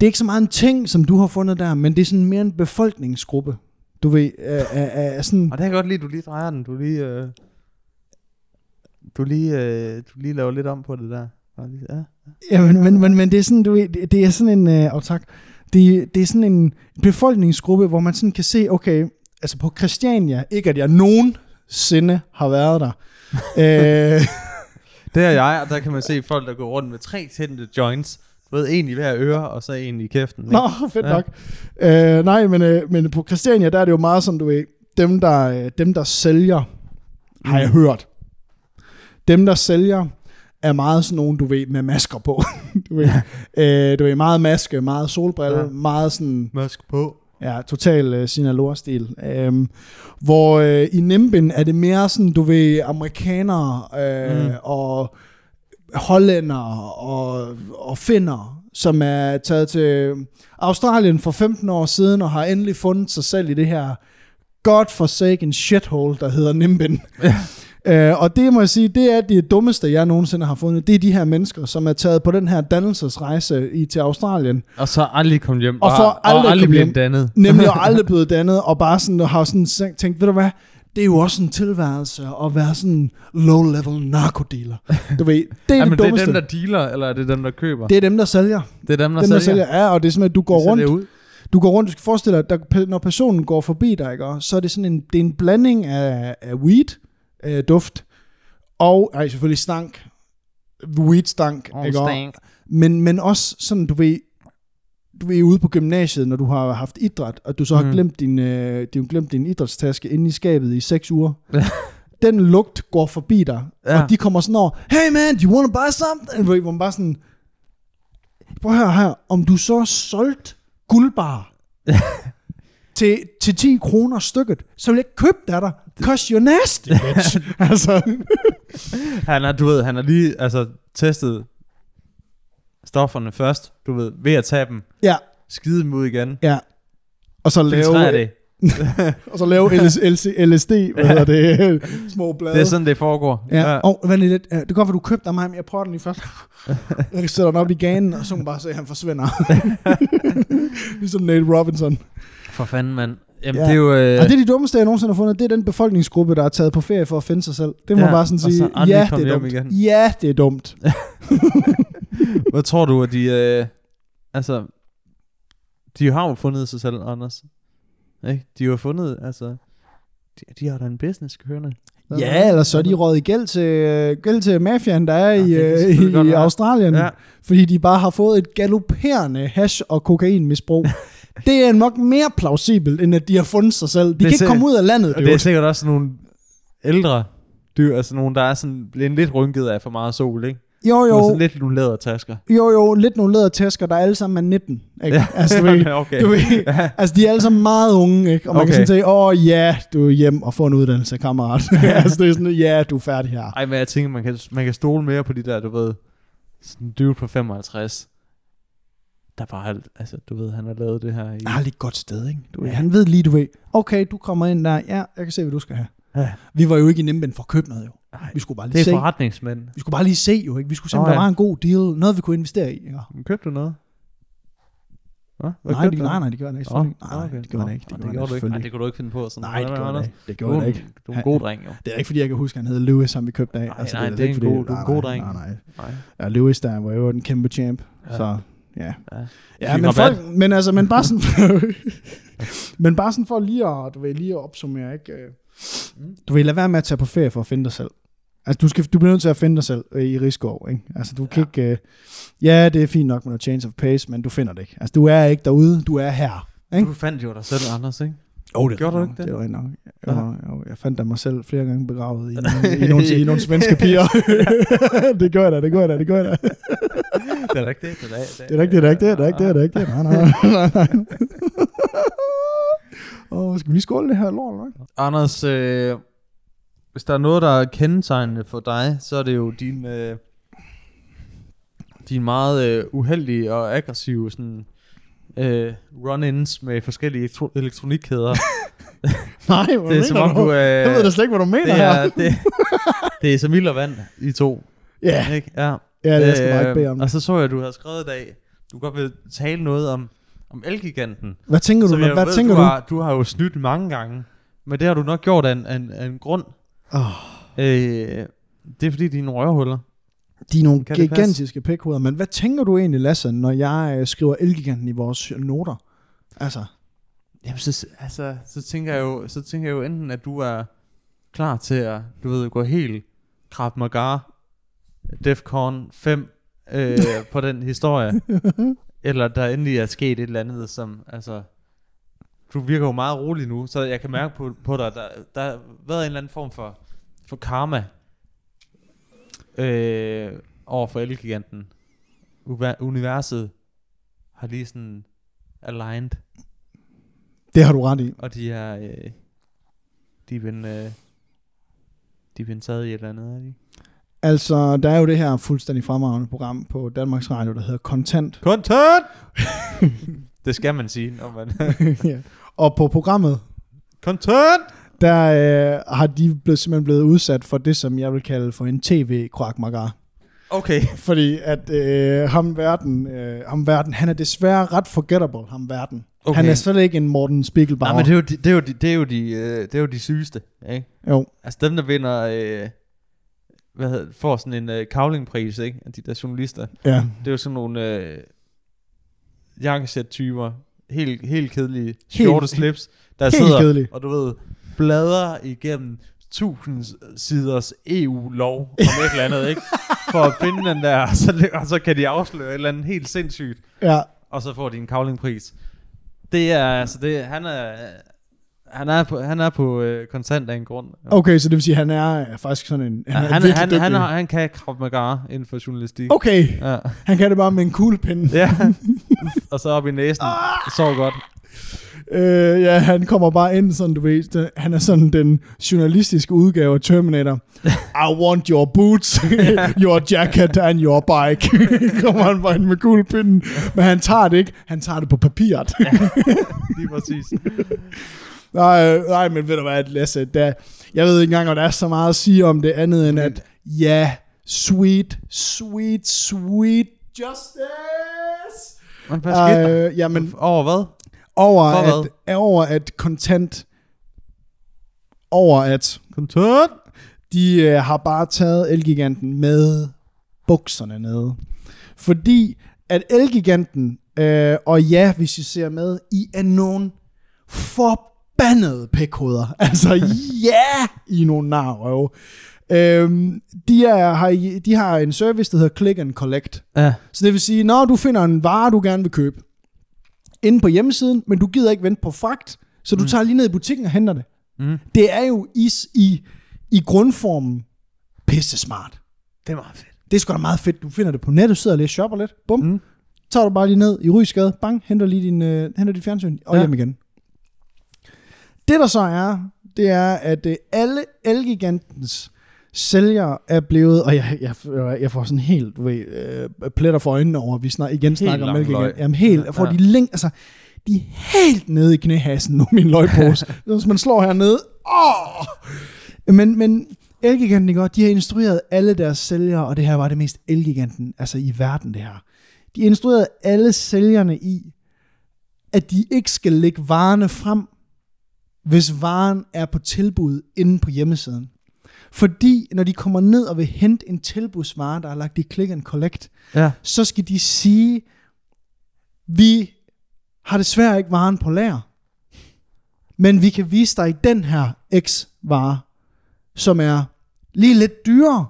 S2: det er ikke så meget en ting, som du har fundet der, men det er sådan mere en befolkningsgruppe. Du ved, er, er, er sådan,
S1: Og det kan jeg godt lide, du lige drejer den. Du lige... Øh, du lige, øh, du lige laver lidt om på det der. Bare lige- Ja.
S2: ja, men, men, men, men det er sådan, du ved, det, det er sådan en, øh, oh, tak, det, det er sådan en befolkningsgruppe, hvor man sådan kan se, okay, altså på Christiania, ikke at jeg nogensinde har været der, øh,
S1: Det er jeg, og der kan man se folk, der går rundt med tre tændte joints. Du ved, en i hver øre, og så en i kæften. ikke?
S2: Nå, fedt ja.
S1: Ja.
S2: nok. Øh, nej, men, øh, men på Christiania, der er det jo meget sådan, du ved, dem der, øh, dem der sælger, har jeg hørt. Dem der sælger, er meget sådan nogen, du ved, med masker på. du, ved, øh, du ved, meget maske, meget solbrille, ja.
S1: Ja.
S2: meget sådan,
S1: Mask på.
S2: ja, total øh, Sinaloa-stil. Øhm, hvor øh, i Nimbin er det mere sådan, du ved, amerikanere øh, mm.
S1: Mm.
S2: og hollændere og, og finner, som er taget til Australien for 15 år siden og har endelig fundet sig selv i det her godforsaken shithole, der hedder Nimbin. Øh, og det må jeg sige, det er det dummeste, jeg nogensinde har fundet. Det er de her mennesker, som er taget på den her dannelsesrejse i, til Australien,
S1: Og så aldrig kom hjem.
S2: Og så aldrig
S1: og aldrig
S2: kom
S1: blev
S2: hjem.
S1: dannet.
S2: nemlig og aldrig blevet dannet, og bare sådan, har sådan sænkt- tænkt, ved du hvad, det er jo også en tilværelse at være sådan low-level narkodealer. Du ved, det er
S1: Ja, men
S2: det
S1: det er
S2: dummeste.
S1: dem, der dealer, eller er det dem, der køber?
S2: det er dem, der sælger.
S1: Det er dem, der
S2: Dem,
S1: sælger.
S2: der sælger, ja, og det er simpelthen, at du går
S1: De sælger
S2: rundt,
S1: ud.
S2: Du går rundt, du skal forestille dig, at der, når personen går forbi dig, ikke, og så er det sådan en, det er en blanding af, af weed, øh, duft, og ej, selvfølgelig stank, weed stank,
S1: Åh,
S2: ikke, og-
S1: stank.
S2: men, men også sådan, du ved, du er ude på gymnasiet, når du har haft idræt, og du så har
S1: Mhm.
S2: mm. glemt, din, øh, du har glemt din idrætstaske inde i skabet i seks uger.
S1: Ja.
S2: Den lugt går forbi dig,
S1: Ja.
S2: ja. og de kommer sådan over, hey man, do you wanna buy something? Hvor- Hvor man bare sådan, prøv at høre her, om du så solgte guldbar til, til 10 kroner stykket, så vil jeg ikke købe det af dig. Cause you're nasty, bitch. altså,
S1: Han har, du ved, han har lige altså, testet stofferne først, du ved, ved at tage dem,
S2: ja,
S1: skide dem ud igen,
S2: ja. Og så
S1: filtrere
S2: lave,
S1: det.
S2: Og så lave LS, LC, LSD, hvad hedder det, små blade.
S1: Det er sådan, det foregår.
S2: Ja, og vent lige lidt. Ja, Det kan godt være, du købte dig med ham. Jeg prøver den lige først. Jeg sætter den op i ganen, og så kan man bare se, at han forsvinder. ligesom Nate Robinson.
S1: For fanden, mand. Jamen,
S2: Ja.
S1: det er jo... Øh,
S2: Og det er de dummeste, jeg nogensinde har fundet. Det er den befolkningsgruppe, der er taget på ferie for at finde sig selv. Det må
S1: Ja,
S2: ja, bare sådan
S1: og så
S2: sige,
S1: aldrig
S2: ja,
S1: komme
S2: det er
S1: hjem
S2: dumt.
S1: igen.
S2: Ja, det er dumt.
S1: Hvad tror du, at de... Øh, altså, de har jo fundet sig selv, Anders. Ikke? De har jo fundet, altså... De, de har da en business kørende.
S2: Ja, eller så er de røget i gæld til, gæld til mafiaen, der er
S1: Ja, det
S2: i,
S1: kan
S2: øh,
S1: selvfølgelig godt
S2: i, i
S1: være.
S2: Australien.
S1: Ja,
S2: fordi de bare har fået et galopperende hash- og kokainmisbrug. det er nok mere plausibelt, end at de har fundet sig selv. De
S1: er
S2: kan ikke
S1: sind-
S2: komme ud af landet,
S1: og det er
S2: det
S1: sikkert også nogle ældre dyr, altså nogle, der er sådan blevet lidt rynket af for meget sol, ikke?
S2: jo,
S1: Jo.
S2: jo,
S1: Sådan lidt nogle lædertasker.
S2: jo, jo, lidt nogle lædertæsker, der alle sammen er 19. Ikke? Ja. Altså, du ved,
S1: okay.
S2: du ved,
S1: Ja.
S2: altså, de er alle sammen meget unge, ikke? og man okay.
S1: Okay.
S2: kan sådan sige, åh oh, ja, du er hjem og får en uddannelse, kammerat. altså, det er sådan, ja, du er færdig her.
S1: Ej, men jeg tænker, man kan, man kan stole mere på de der, du ved, sådan en dude på 55, der bare, har- altså, du ved, han har lavet det her i...
S2: Jeg har lige et godt sted, ikke? Du ved,
S1: Ja.
S2: Han ved lige, du ved, okay, du kommer ind der, ja, jeg kan se, hvad du skal have.
S1: Ja.
S2: Vi var jo ikke i Nimben for at købe noget, jo.
S1: Ej,
S2: Vi skulle bare lige
S1: det
S2: se.
S1: er forretningsmænd.
S2: Vi skulle bare lige se jo, ikke? Vi skulle se, om
S1: Nå,
S2: der
S1: ja.
S2: var en god deal. Noget, vi kunne investere i. Ikke?
S1: Købte du noget? Hva? Hvad
S2: Nej, de,
S1: købte du?
S2: nej, nej, det gjorde jeg ikke.
S1: Åh,
S2: selvfølgelig. Nej, nej, det gjorde jeg
S1: Nå,
S2: ikke.
S1: nej,
S2: Det gjorde jeg
S1: du ikke. Nej, det
S2: selvfølgelig.
S1: kunne du ikke finde på. Sådan.
S2: Nej, det
S1: Hvordan,
S2: gjorde jeg ikke. Det
S1: Anders?
S2: gjorde jeg ikke.
S1: Du er en god dreng, jo.
S2: Det er ikke, fordi jeg kan huske, at han hed Lewis, som vi købte af. Altså,
S1: Nej, nej, det er
S2: ikke,
S1: en
S2: fordi-
S1: god- du er en
S2: nej,
S1: god
S2: nej,
S1: dreng.
S2: Nej, nej.
S1: Nej.
S2: Ja, Lewis, der var jo en kæmpe champ. Så, ja.
S1: Ja.
S2: Ja,
S1: Fik
S2: men,
S1: rabat.
S2: folk, men, altså, men bare sådan... men bare sådan for lige at, du ved, lige at opsummere, ikke? Øh,
S1: Mm.
S2: Du vil lade være med at tage på ferie for at finde dig selv. Altså, du, skal, du bliver nødt til at finde dig selv øh, i Rigskov, ikke? Altså, du kan ikke... Øh, ja, det er fint nok med noget change of pace, men du finder det ikke. Altså, du er ikke derude, du er her.
S1: Du fandt jo dig selv, Anders, ikke?
S2: Oh, det
S1: Gjorde du
S2: nok.
S1: ikke det?
S2: Det var nok.
S1: Nå.
S2: Jo, jo, jeg fandt da mig selv flere gange begravet i, nogle- i, nogle, i nogle svenske piger. det gør jeg da, det gør jeg da, det gør jeg da.
S1: det er da ikke det. Det
S2: Det er da ikke det, det er da ikke det, det er da ikke det, det er da ikke det. Nej, nej, nej, nej. Åh, skal vi lige skåle det her lort, eller hvad?
S1: Anders, øh, hvis der er noget, der er kendetegnende for dig, så er det jo din, øh, din meget øh, uheldige og aggressive sådan, øh, run-ins med forskellige elektro- elektronikkæder.
S2: Nej, hvad
S1: det er
S2: mener
S1: som om
S2: du?
S1: du... Øh,
S2: Jeg ved da slet ikke, hvad du mener
S1: det
S2: her.
S1: er, det, det er som ild og vand, I to.
S2: Ja,
S1: Ikke? Ja. Øhm,
S2: ja, jeg skal bare ikke bede om
S1: Og
S2: det.
S1: så så jeg, at du havde skrevet i dag, du godt vil tale noget om, om elgiganten.
S2: Hvad tænker du?
S1: Som jeg
S2: Hvad
S1: ved,
S2: tænker
S1: du?
S2: du?
S1: Har, du har jo snydt mange gange, men det har du nok gjort af en, af en, af en grund.
S2: Åh,
S1: Øh, det er fordi, dine røvhuller.
S2: De er nogle
S1: Kan det passe?
S2: gigantiske pikhoveder, men hvad tænker du egentlig, Lasse, når jeg øh, skriver Elgiganten i vores noter? Altså,
S1: Jamen, så, altså, så, tænker jeg jo, så tænker jeg jo enten, at du er klar til at, du ved, gå helt Krav Maga, Defcon 5 øh, på den historie. eller der endelig er sket et eller andet, som, altså, du virker jo meget rolig nu, så jeg kan mærke på, på dig, der, der har været en eller anden form for, for karma øh, over for elgiganten. Uva- universet har lige sådan aligned.
S2: det har du ret i.
S1: Og de er... Øh, de er blevet... Øh, de er blevet taget i et eller andet, er de?
S2: Altså, der er jo det her fuldstændig fremragende program på Danmarks Radio, der hedder Content.
S1: Content! det skal man sige, når man...
S2: ja. Og på programmet,
S1: Content!
S2: der øh, har de blevet, simpelthen blevet udsat for det, som jeg vil kalde for en tv krakmagar
S1: Okay.
S2: Fordi at øh, ham, verden, øh, ham verden, han er desværre ret forgettable, ham verden.
S1: Okay.
S2: Okay. Han er slet ikke en Morten Spiegelbauer.
S1: Nej, men det er jo de, det er jo de, det er jo de, øh, det er jo de sygeste, ikke?
S2: Jo,
S1: Altså dem, der vinder... Øh, hvad hedder, det, får sådan en øh, kavlingpris, ikke? Af de der journalister.
S2: ja.
S1: Det er jo sådan nogle... Øh, jakkesæt-typer, helt, helt kedelige skjorte slips, der
S2: helt
S1: sidder
S2: kedelige.
S1: og du ved, bladrer igennem tusind siders EU-lov om et eller andet, ikke? For at finde den der, og så, og så kan de afsløre et eller andet helt sindssygt,
S2: Ja,
S1: og så får de en kavlingpris. Det er, altså det, han er, han er på, han er på øh, kontant af en grund.
S2: okay, så det vil sige, at han er øh, faktisk sådan en...
S1: Ja, han,
S2: er
S1: han,
S2: virkelig
S1: han,
S2: dygtig.
S1: han, har- han kan Krav Maga inden for journalistik.
S2: Okay,
S1: Ja.
S2: han kan det bare med en kuglepinde.
S1: ja. og så op i næsen. Det sover godt.
S2: Øh, ja, han kommer bare ind sådan, du ved, den- han er sådan den journalistiske udgave af Terminator. I want your boots, your jacket and your bike. kommer han bare ind med kuglepinden. Men han tager det ikke, han tager det på papiret.
S1: Lige præcis.
S2: nej, nej, men ved du hvad, Lasse, der, jeg ved ikke engang, om der er så meget at sige om det andet end at, ja, sweet, sweet, sweet justice.
S1: Men hvad skete der?
S2: Øh, jamen,
S1: Over hvad?
S2: over
S1: For
S2: at, er over at kontant, over at
S1: Kontant.
S2: de øh, har bare taget Elgiganten med bukserne nede. Fordi at Elgiganten, øh, og ja, hvis I ser med, I er nogen forbandede pikhoveder. Altså ja, I er nogle narrøve. Øhm, de, er, har, i- de har en service, der hedder Click and Collect.
S1: Ja.
S2: Så det vil sige, når du finder en vare, du gerne vil købe, inde på hjemmesiden, men du gider ikke vente på fragt, så du mm. tager lige ned i butikken og henter det.
S1: Mm.
S2: Det er jo is i, i grundformen pisse smart.
S1: Det er meget fedt.
S2: Det er sgu da meget fedt. Du finder det på nettet, sidder lidt, shopper lidt, bum.
S1: Mm.
S2: Mm. Tager du bare lige ned i Rysgade, bang, henter lige din, øh, henter dit fjernsyn og
S1: Ja.
S2: ja. hjem igen. Det der så er, det er, at øh, alle Elgigantens sælgere er blevet, og jeg, jeg, jeg får sådan helt du ved, øh, pletter for øjnene over, at vi snak, igen snakker om
S1: langt
S2: Elgiganten.
S1: løg.
S2: Jamen helt, jeg får
S1: Ja.
S2: de længe, altså, de er helt nede i knæhassen nu, min løgpose. Hvis man slår hernede, åh! Men, men Elgiganten, ikke også? de har instrueret alle deres sælgere, og det her var det mest Elgiganten altså i verden, det her. De instruerede alle sælgerne i, at de ikke skal lægge varerne frem, hvis varen er på tilbud inde på hjemmesiden. Fordi når de kommer ned og vil hente en tilbudsvare, der er lagt i click and collect,
S1: Ja.
S2: så skal de sige, vi har desværre ikke varen på lager, men vi kan vise dig den her X-vare, som er lige lidt dyrere,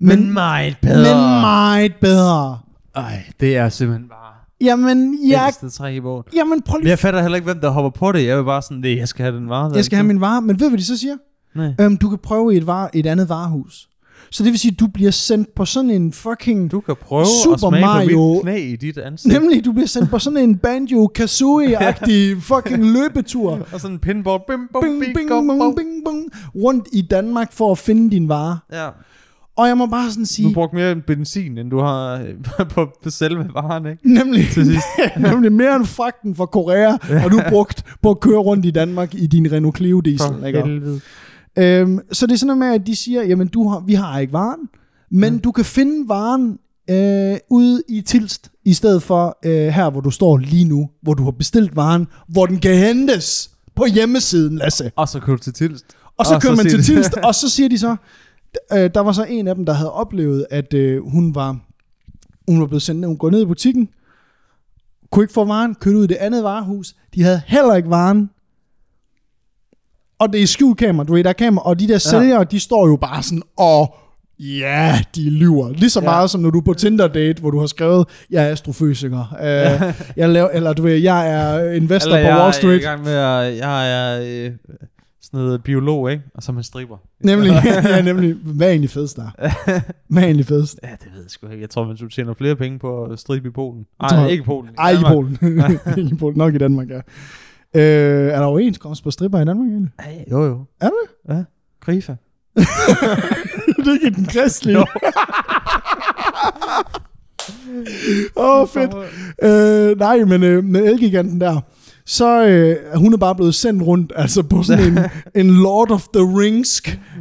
S2: men,
S1: meget
S2: men meget bedre.
S1: Ej, det er simpelthen bare
S2: Jamen,
S1: jeg...
S2: jeg,
S1: ældste træk i bogen.
S2: jamen prøv
S1: Men
S2: lige,
S1: jeg fatter heller ikke, hvem der hopper på det. Jeg vil bare sådan, det, jeg skal have den vare. der,
S2: jeg skal have
S1: ikke?
S2: min vare, men ved du, hvad de så siger?
S1: Nej.
S2: Øhm, du kan prøve i et, var, et andet varehus. Så det vil sige, at du bliver sendt på sådan en fucking...
S1: Du kan prøve Super at
S2: Super
S1: smage Mario. på mit
S2: Mario-
S1: knæ i dit ansigt.
S2: Nemlig, du bliver sendt på sådan en banjo-kazooie-agtig fucking løbetur.
S1: Og sådan en pinball. Bim, bom,
S2: Bing,
S1: bing,
S2: bing,
S1: bom, bom.
S2: bong, bing, bong, rundt i Danmark for at finde din vare.
S1: Ja.
S2: Og jeg må bare sådan
S1: Du
S2: sige...
S1: brugte mere end benzin, end du har øh, på, på selve varen, ikke?
S2: Nemlig,
S1: Til sidst.
S2: nemlig mere end fragten fra Korea, og du brugt på at køre rundt i Danmark i din Renault Clio diesel. Ikke?
S1: helvede.
S2: Øhm, så det er sådan noget med, at de siger, jamen du har, vi har ikke varen, men mm. du kan finde varen øh, ude i Tilst, i stedet for øh, her, hvor du står lige nu, hvor du har bestilt varen, hvor den kan hentes på hjemmesiden, Lasse.
S1: Og så køb til Tilst.
S2: Og så
S1: Og
S2: og kører
S1: så
S2: man
S1: siger
S2: til
S1: de-
S2: Tilst, og så siger de så, øh, der var så en af dem, der havde oplevet, at øh, hun var hun var blevet sendt ned, hun går ned i butikken, kunne ikke få varen, kørte ud i det andet varehus, de havde heller ikke varen, og det er skjult kamera, du ved, der er kamera, og de der sælgere, de står jo bare sådan, og ja, de lyver. Lige så
S1: Ja.
S2: ja. meget som når du er på Tinder-date, hvor du har skrevet, jeg er astrofysiker, øh, jeg laver, eller du ved, jeg er investor
S1: Eller
S2: på
S1: jeg
S2: Wall
S1: er i
S2: Street.
S1: gang med at, jeg er øh, sådan noget biolog, ikke? Og så man striber.
S2: Nemlig, ja, nemlig, hvad er egentlig fedest der? Hvad er egentlig fedest?
S1: Ja, det ved jeg sgu ikke. Jeg tror, man skulle tjene flere penge på at stribe i Polen.
S2: tror
S1: Nej,
S2: jeg-
S1: ikke i Polen.
S2: Ej, i
S1: Danmark.
S2: Polen. ikke i Polen, nok i Danmark, ja. Øh, er der overenskomst på stripper i Danmark egentlig?
S1: Ej, jo, jo.
S2: Er der
S1: det? Ja, Grifa.
S2: det er ikke den kristlige. Åh, oh, fedt. Øh, nej, men øh, med elgiganten der, så øh, hun er bare blevet sendt rundt, altså på sådan en, en Lord of the Rings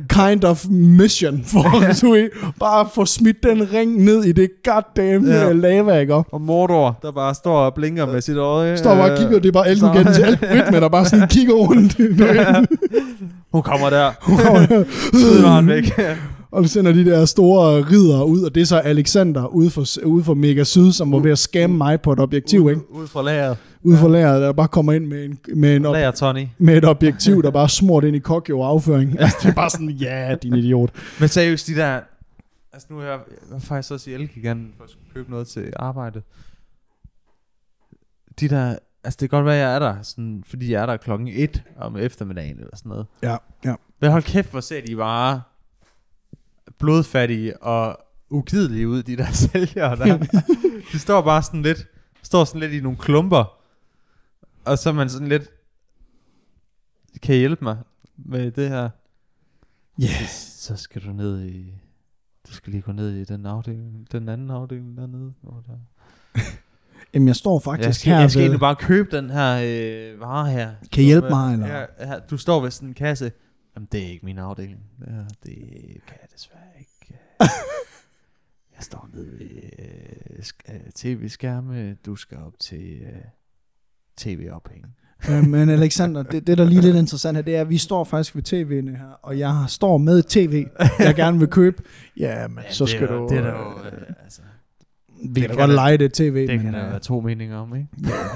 S2: kind of mission, for at du ved, bare få smidt den ring ned i det goddamn
S1: Ja.
S2: ja. lava, ikke?
S1: Og Mordor, der bare står og blinker med sit øje.
S2: Står bare og
S1: øh,
S2: kigger, det er bare
S1: så-
S2: elgiganten til alt rytme, der bare sådan kigger rundt.
S1: Hun kommer der. Smider han væk.
S2: Og så sender de der store ridere ud, og det er så Alexander ude for, ude for Mega Syd, som var ved at skamme mig på et objektiv, ikke?
S1: Ud fra lageret.
S2: Ude for lageret, der bare kommer ind med, en, med, en op,
S1: Lager Tony.
S2: med et objektiv, der bare er smurt ind i kokjo og afføring. Altså, det er bare sådan, ja, din idiot.
S1: Men seriøst, de der... Altså nu er jeg, jeg var faktisk også i Elgiganten for at skulle købe noget til arbejdet. De der... Altså det kan godt være, jeg er der, sådan, fordi jeg er der klokken 1 om eftermiddagen eller sådan noget.
S2: Ja, ja.
S1: Men hold kæft, hvor ser de bare blodfattige og ugidelige ud, de der sælgere der. de står bare sådan lidt, står sådan lidt i nogle klumper, og så er man sådan lidt, kan I hjælpe mig med det her?
S2: Yes.
S1: Så skal du ned i, du skal lige gå ned i den afdeling, den anden afdeling dernede. Hvor der.
S2: Jamen, jeg står faktisk
S1: jeg skal,
S2: her
S1: jeg skal
S2: ved,
S1: egentlig bare købe den her øh, vare her.
S2: Kan I hjælpe mig, eller?
S1: Ja, her, du står ved sådan en kasse. Jamen, det er ikke min afdeling. Ja, det kan jeg desværre ikke. jeg står nede ved øh, sk- øh, tv-skærme. Du skal op til øh, tv-ophæng.
S2: Øh, Men Alexander, det, det der lige er lidt interessant her, det er, at vi står faktisk ved tv'en her, og jeg står med et tv, jeg gerne vil købe. Ja, men så skal
S1: det er,
S2: du...
S1: Det er der jo... Øh, altså,
S2: vi kan
S1: kan
S2: da godt
S1: der-
S2: lege det tv,
S1: det
S2: men
S1: kan der
S2: øh,
S1: være to meninger om, ikke?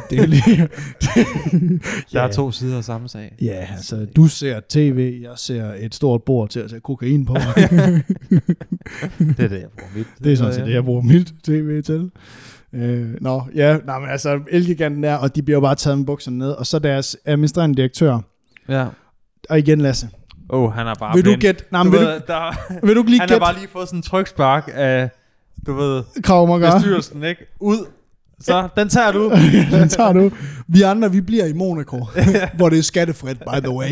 S2: det er lige...
S1: Der
S2: Ja.
S1: er to sider af samme sag.
S2: Ja, altså du ser tv, jeg ser et stort bord til at tage kokain på.
S1: Det er det, jeg bruger mit.
S2: det er sådan set det, jeg bruger mit tv til. Øh, nå, ja, nej, men altså Elgiganten er, og de bliver jo bare taget med bukserne ned, og så deres administrerende direktør,
S1: Ja.
S2: og igen Lasse,
S1: Åh, oh, han er bare
S2: vil du
S1: blind.
S2: gætte,
S1: du
S2: nej, men vil,
S1: ved,
S2: du,
S1: der,
S2: vil du ikke lige
S1: han har
S2: gætte
S1: bare lige fået sådan en trykspark af, du ved,
S2: Kravmager?
S1: bestyrelsen, ikke? Ud. Så, den tager du.
S2: den tager du. Vi andre, vi bliver i Monaco, hvor det er skattefrit, by the way.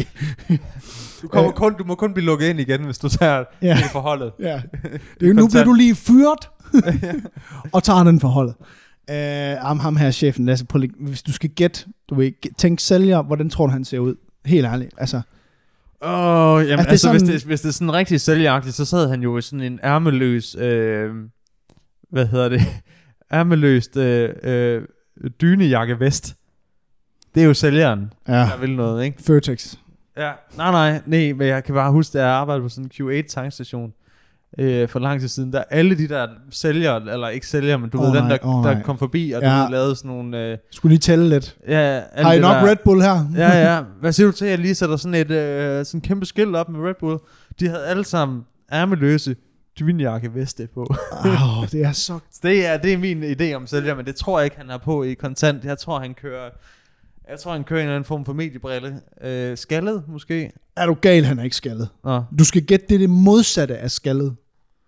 S1: Du, kommer kun, du må kun blive lukket ind igen, hvis du tager
S2: Ja.
S1: ja. det forholdet.
S2: Ja. Det er, jo- nu bliver du lige fyret, og tager den for holdet. Uh, ham, ham her, chefen, Lasse, prøv lige, hvis du skal gætte, du ved, gæt- tænk sælger, hvordan tror du, han ser ud? Helt ærligt, altså.
S1: Åh, oh, jamen,
S2: det er
S1: altså, altså hvis,
S2: sådan-
S1: det, hvis det er sådan rigtig sælgeragtigt, så sad han jo i sådan en ærmeløs, øh, hvad hedder det, ærmeløst øh, øh, dynejakke vest. Det er jo sælgeren,
S2: Ja,
S1: der vil noget, ikke?
S2: Føtex.
S1: Ja, nej, nej, nej, men jeg kan bare huske, at jeg arbejdede på sådan en Q8-tankstation øh, for lang tid siden, der alle de der sælgere, eller ikke sælgere, men du
S2: Åh
S1: oh, ved, den
S2: nej,
S1: der,
S2: åh
S1: oh, der
S2: nej.
S1: kom forbi, og
S2: Ja.
S1: ja. du ved, lavede sådan nogle... Øh,
S2: Skulle lige tælle lidt.
S1: ja, alt
S2: Har I
S1: det
S2: nok
S1: der,
S2: Red Bull her?
S1: Ja, ja. Hvad siger du til, at jeg lige sætter sådan et øh, sådan kæmpe skilt op med Red Bull? De havde alle sammen ærmeløse dynjakke veste på.
S2: Åh, det er så...
S1: Så det er, det er min idé om sælger, men det tror jeg ikke, han har på i kontant. Jeg tror, han kører... Jeg tror, han kører en eller anden form for mediebrille. Øh, skaldet, måske?
S2: Er du gal, han er ikke skaldet.
S1: Nå,
S2: Du skal gætte, det er det modsatte af skaldet.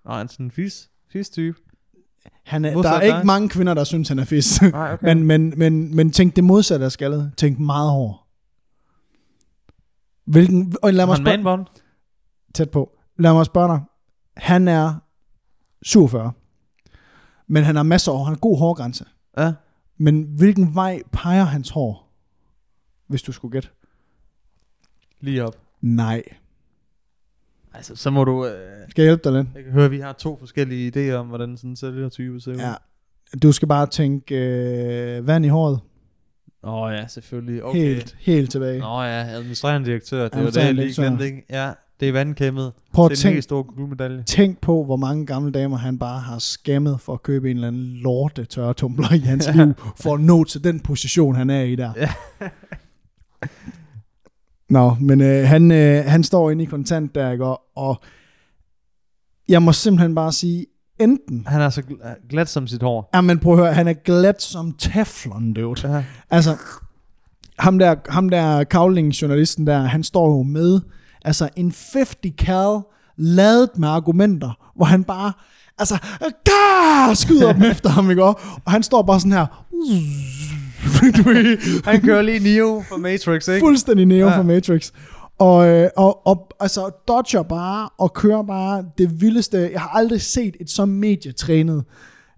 S1: Nå, han er sådan en fis, fis type.
S2: Han er, der
S1: Modsat
S2: er ikke
S1: dig.
S2: mange kvinder, der synes, han er fisk.
S1: Nej, okay.
S2: Men, men, men, men tænk det modsatte af skaldet. Tænk meget hård. Hvilken, og lad mig,
S1: han
S2: spørge,
S1: manbånd.
S2: tæt på. lad mig spørge dig. Han er 47. Men han har masser af hår. Han har god hårgrænse.
S1: Ja.
S2: Men hvilken vej peger hans hår? Hvis du skulle gætte.
S1: Lige op.
S2: Nej.
S1: Altså, så må du... Øh,
S2: Skal jeg hjælpe dig lidt?
S1: jeg kan høre, vi har to forskellige idéer om, hvordan sådan en sælgertype ser ud.
S2: Ja. Du skal bare tænke øh, vand i håret.
S1: Åh ja, selvfølgelig.
S2: Okay.
S1: Okay.
S2: Helt, helt tilbage.
S1: Nå ja, administrerende direktør, det var det, jeg
S2: Administrerende
S1: lige glemte, ikke? Ja, det er vandkæmmet.
S2: Prøv at
S1: det er en
S2: tænke,
S1: helt stor guldmedalje.
S2: Tænk på, hvor mange gamle damer han bare har skammet for at købe en eller anden lorte tørretumbler i hans liv, for at nå til den position, han er i der.
S1: Ja.
S2: Nå, men øh, han, øh, han står inde i kontant der, ikke? Og- og jeg må simpelthen bare sige, enten,
S1: Han er så gl- glat som sit hår.
S2: ja, men prøv at høre, han er glat som teflon, dude.
S1: Ja.
S2: Altså, ham der, ham der Kavling-journalisten der, han står jo med, altså en 50 cal ladet med argumenter, hvor han bare, altså, gah, skyder dem efter ham, ikke? Og og han står bare sådan her, du ved,
S1: Han kører lige Neo fra Matrix, ikke?
S2: fuldstændig neo ja.
S1: Ja.
S2: for Matrix. Og, øh, og, og altså, dodger bare og kører bare det vildeste. Jeg har aldrig set et så medietrænet,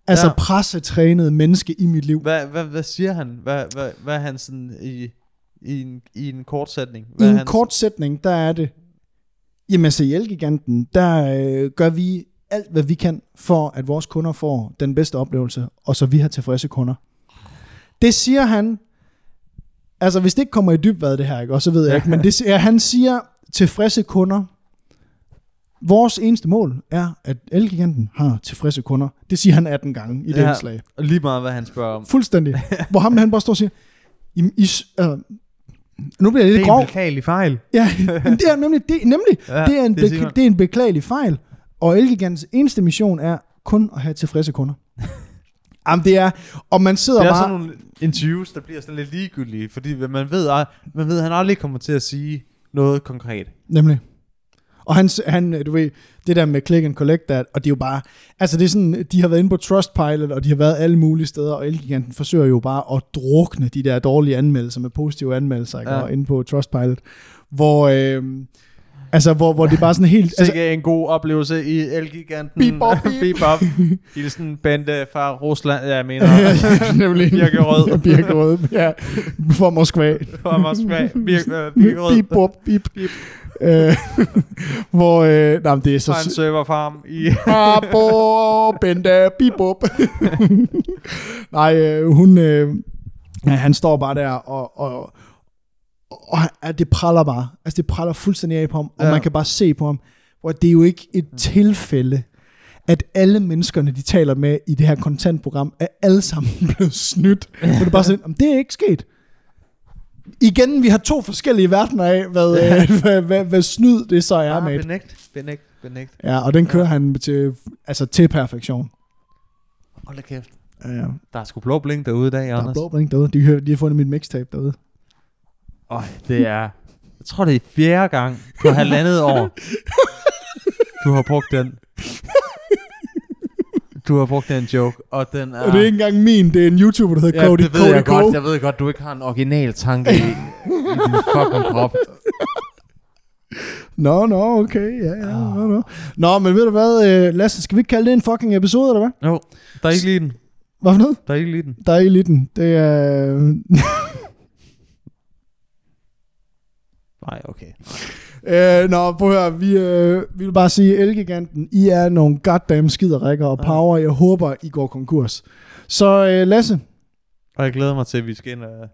S2: altså
S1: Ja.
S2: ja. pressetrænet menneske i mit liv.
S1: Hvad, hvad, hvad siger han? Hvad, hvad, hvad er han sådan i, i, en, i en kort sætning?
S2: I
S1: Hvad er
S2: en
S1: han-
S2: kort sætning, der er det, jamen altså i Elgiganten, der øh, gør vi alt, hvad vi kan, for at vores kunder får den bedste oplevelse, og så vi har tilfredse kunder. Det siger han, altså hvis det ikke kommer i dybvad det her, ikke, og så ved jeg ikke, men det, siger- han siger tilfredse kunder Vores eneste mål er, at Elgiganten har tilfredse kunder. Det siger han 18 gange i det
S1: Ja.
S2: ja. indslag.
S1: Og Lige meget, hvad han spørger om.
S2: Fuldstændig. Hvor ham han bare står og siger, I, I, s- øh, nu bliver
S1: Det
S2: jeg lidt
S1: er en
S2: grov.
S1: beklagelig fejl.
S2: Ja, men det er nemlig, det, nemlig
S1: Ja,
S2: ja, det, er en
S1: det
S2: det,
S1: siger
S2: bekl-
S1: man.
S2: det er en beklagelig fejl, og Elgigantens eneste mission er kun at have tilfredse kunder. Jamen det er, og man sidder
S1: Det er
S2: bare,
S1: sådan nogle interviews, der bliver sådan lidt ligegyldige, fordi man ved, at man ved, at han aldrig kommer til at sige noget konkret.
S2: nemlig. Og han, s- han, øh, du ved, det der med click and collect, der, og det er jo bare, altså det er sådan, de har været inde på Trustpilot, og de har været alle mulige steder, og Elgiganten forsøger jo bare at drukne de der dårlige anmeldelser med positive anmeldelser, ikke?
S1: Ja.
S2: Og inde på Trustpilot, hvor, øh, altså hvor, hvor det er bare sådan helt,
S1: Altså,
S2: altså,
S1: Sikke en god oplevelse i Elgiganten.
S2: Bip, bop, bip.
S1: bop. Hilsen Bente fra Rusland, jeg mener.
S2: Ja, nemlig.
S1: Birkerød.
S2: Birkerød, ja. For Moskva.
S1: fra Moskva. Birk, øh, Birkerød.
S2: Bip, bop, bip.
S1: Bip.
S2: Øh, hvor, øh, nej, men det er så...
S1: Fra en serverfarm i...
S2: Babo, Bente, bip, bop. nej, øh, hun... Øh, ja, han står bare der og... og og han- ja, det praller bare. Altså, det praller fuldstændig af på ham, og
S1: Ja.
S2: man kan bare se på ham, hvor det er jo ikke et tilfælde, at alle menneskerne, de taler med i det her kontantprogram, er alle sammen blevet snydt. Hvor det er bare sådan, "Jamen, det er ikke sket. Igen, vi har to forskellige verdener af, hvad, øh, hvad, hvad, hvad snyd det så er,
S1: Ah,
S2: med.
S1: benægt, benægt, benægt.
S2: Ja, og den kører han til, altså til perfektion.
S1: Hold da kæft.
S2: Ja, ja.
S1: Der er sgu blå blink derude i dag,
S2: Der er
S1: Anders.
S2: blå blink derude. De, hører- de har fundet mit mixtape derude.
S1: Øj, det er... Jeg tror, det er fjerde gang på halvandet år, du har brugt den. Du har brugt den joke, og den er...
S2: Og det er ikke engang min, det er en YouTuber, der hedder
S1: ja,
S2: Cody
S1: det ved jeg
S2: Cody Go.
S1: godt. Jeg ved godt, du ikke har en original tanke i, i din fucking krop.
S2: Nå, nå, okay, ja, ja,
S1: Ah.
S2: nå, nå. Nå, men ved du hvad, øh, Lasse, skal vi ikke kalde det en fucking episode, eller hvad?
S1: Jo, der er ikke lige den.
S2: Hvad for noget?
S1: Der er ikke lige den.
S2: Der er eliten. Det er...
S1: Nej, okay.
S2: Øh, nå, prøv at høre, vi, øh, vi vil bare sige, Elgiganten, I er nogle goddamn skiderikker og
S1: Ja.
S2: power. Jeg håber, I går konkurs. Så øh, Lasse,
S1: Og jeg glæder mig til, at vi skal ind og...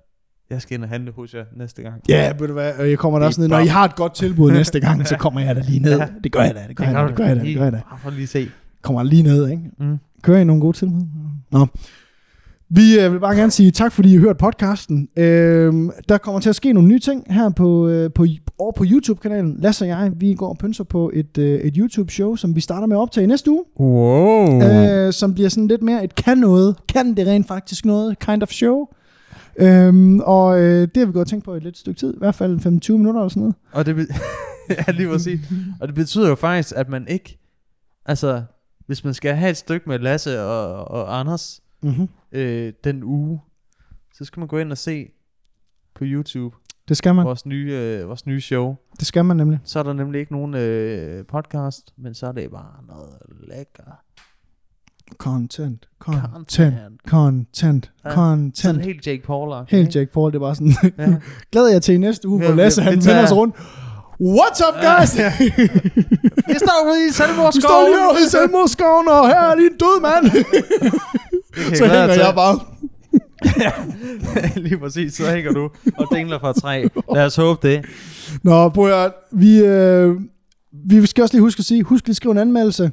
S1: Jeg skal ind og handle hos jer næste gang.
S2: Ja, yeah, ved du hvad, jeg kommer der
S1: Det er
S2: også ned. Når
S1: bare-
S2: I har et godt tilbud næste gang, så kommer jeg da lige ned. Det gør jeg da, det gør jeg da, det gør jeg da, det gør jeg da.
S1: Bare for lige se.
S2: Kommer lige ned, ikke?
S1: Mm.
S2: Kører I nogle gode tilbud? Nå. Vi øh, vil bare gerne sige tak, fordi I har hørt podcasten. Øhm, der kommer til at ske nogle nye ting her på, øh, på, over på YouTube-kanalen. Lasse og jeg, vi går og pynser på et, øh, et YouTube-show, som vi starter med at optage i næste uge.
S1: Wow.
S2: Øh, som bliver sådan lidt mere et kan noget. Kan det rent faktisk noget? Kind of show. Øhm, og øh, det har vi gået og tænkt på i et lidt stykke tid. I hvert fald 25 minutter eller sådan noget.
S1: Og det, be- ja, lige præcis. Og det betyder jo faktisk, at man ikke... Altså, hvis man skal have et stykke med Lasse og, og Anders
S2: Mm-hmm.
S1: øh, den uge, så skal man gå ind og se på YouTube
S2: Det skal man.
S1: vores nye, øh, vores nye show.
S2: Det skal man nemlig.
S1: Så er der nemlig ikke nogen øh, podcast, men så er det bare noget lækker
S2: Content. Content.
S1: content.
S2: Content.
S1: Ja, Sådan
S2: Content.
S1: helt Jake Paul.
S2: Helt Jack Paul, det var sådan.
S1: Ja.
S2: Glæder jeg til i næste uge,
S1: Ja,
S2: hvor
S1: vi-
S2: Lasse
S1: vi
S2: han
S1: tager-
S2: vender sig rundt. What's up, guys?
S1: Jeg står ude i
S2: Vi står
S1: selvmordsskoven.
S2: lige over i selvmordsskoven, og her er din død, mand. Så hænger jeg bare.
S1: bare. lige præcis, så hænger du og dingler fra træ. Lad os håbe det.
S2: Nå, prøv at høre. vi, øh, vi skal også lige huske at sige, husk lige at skrive en anmeldelse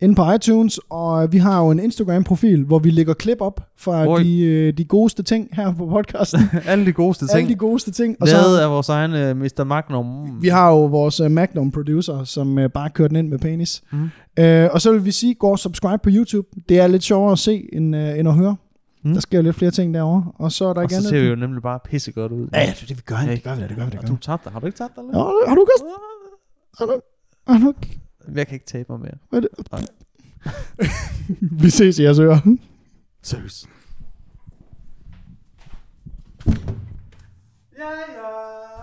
S2: inde på iTunes, og øh, vi har jo en Instagram-profil, hvor vi lægger klip op fra
S1: Oj.
S2: de, øh, de godeste ting her på podcasten.
S1: Alle de godeste ting.
S2: Alle de godeste ting. Og
S1: Og så
S2: så,
S1: af vores egen uh, Mr. Magnum.
S2: vi har jo vores øh, Magnum-producer, som øh, bare kører den ind med penis.
S1: Mm.
S2: Øh, og så vil vi sige, gå og subscribe på YouTube. Det er lidt sjovere at se, end, øh, end at høre.
S1: Mm.
S2: Der sker jo lidt flere ting derovre. Og så er der
S1: Og
S2: igen...
S1: så ser vi jo nemlig bare pissegodt ud.
S2: Ja, ja, det er det, vi gør.
S1: Ja,
S2: Det gør vi da, det gør vi da.
S1: Og du tabte dig. Har du ikke tabt dig? eller?
S2: Har du Ah, gjort? Har du, har du
S1: Jeg kan ikke tabe mig mere.
S2: Hvad er det?
S1: Nej.
S2: Vi ses i jeres ører.
S1: Seriøst. Ja, ja.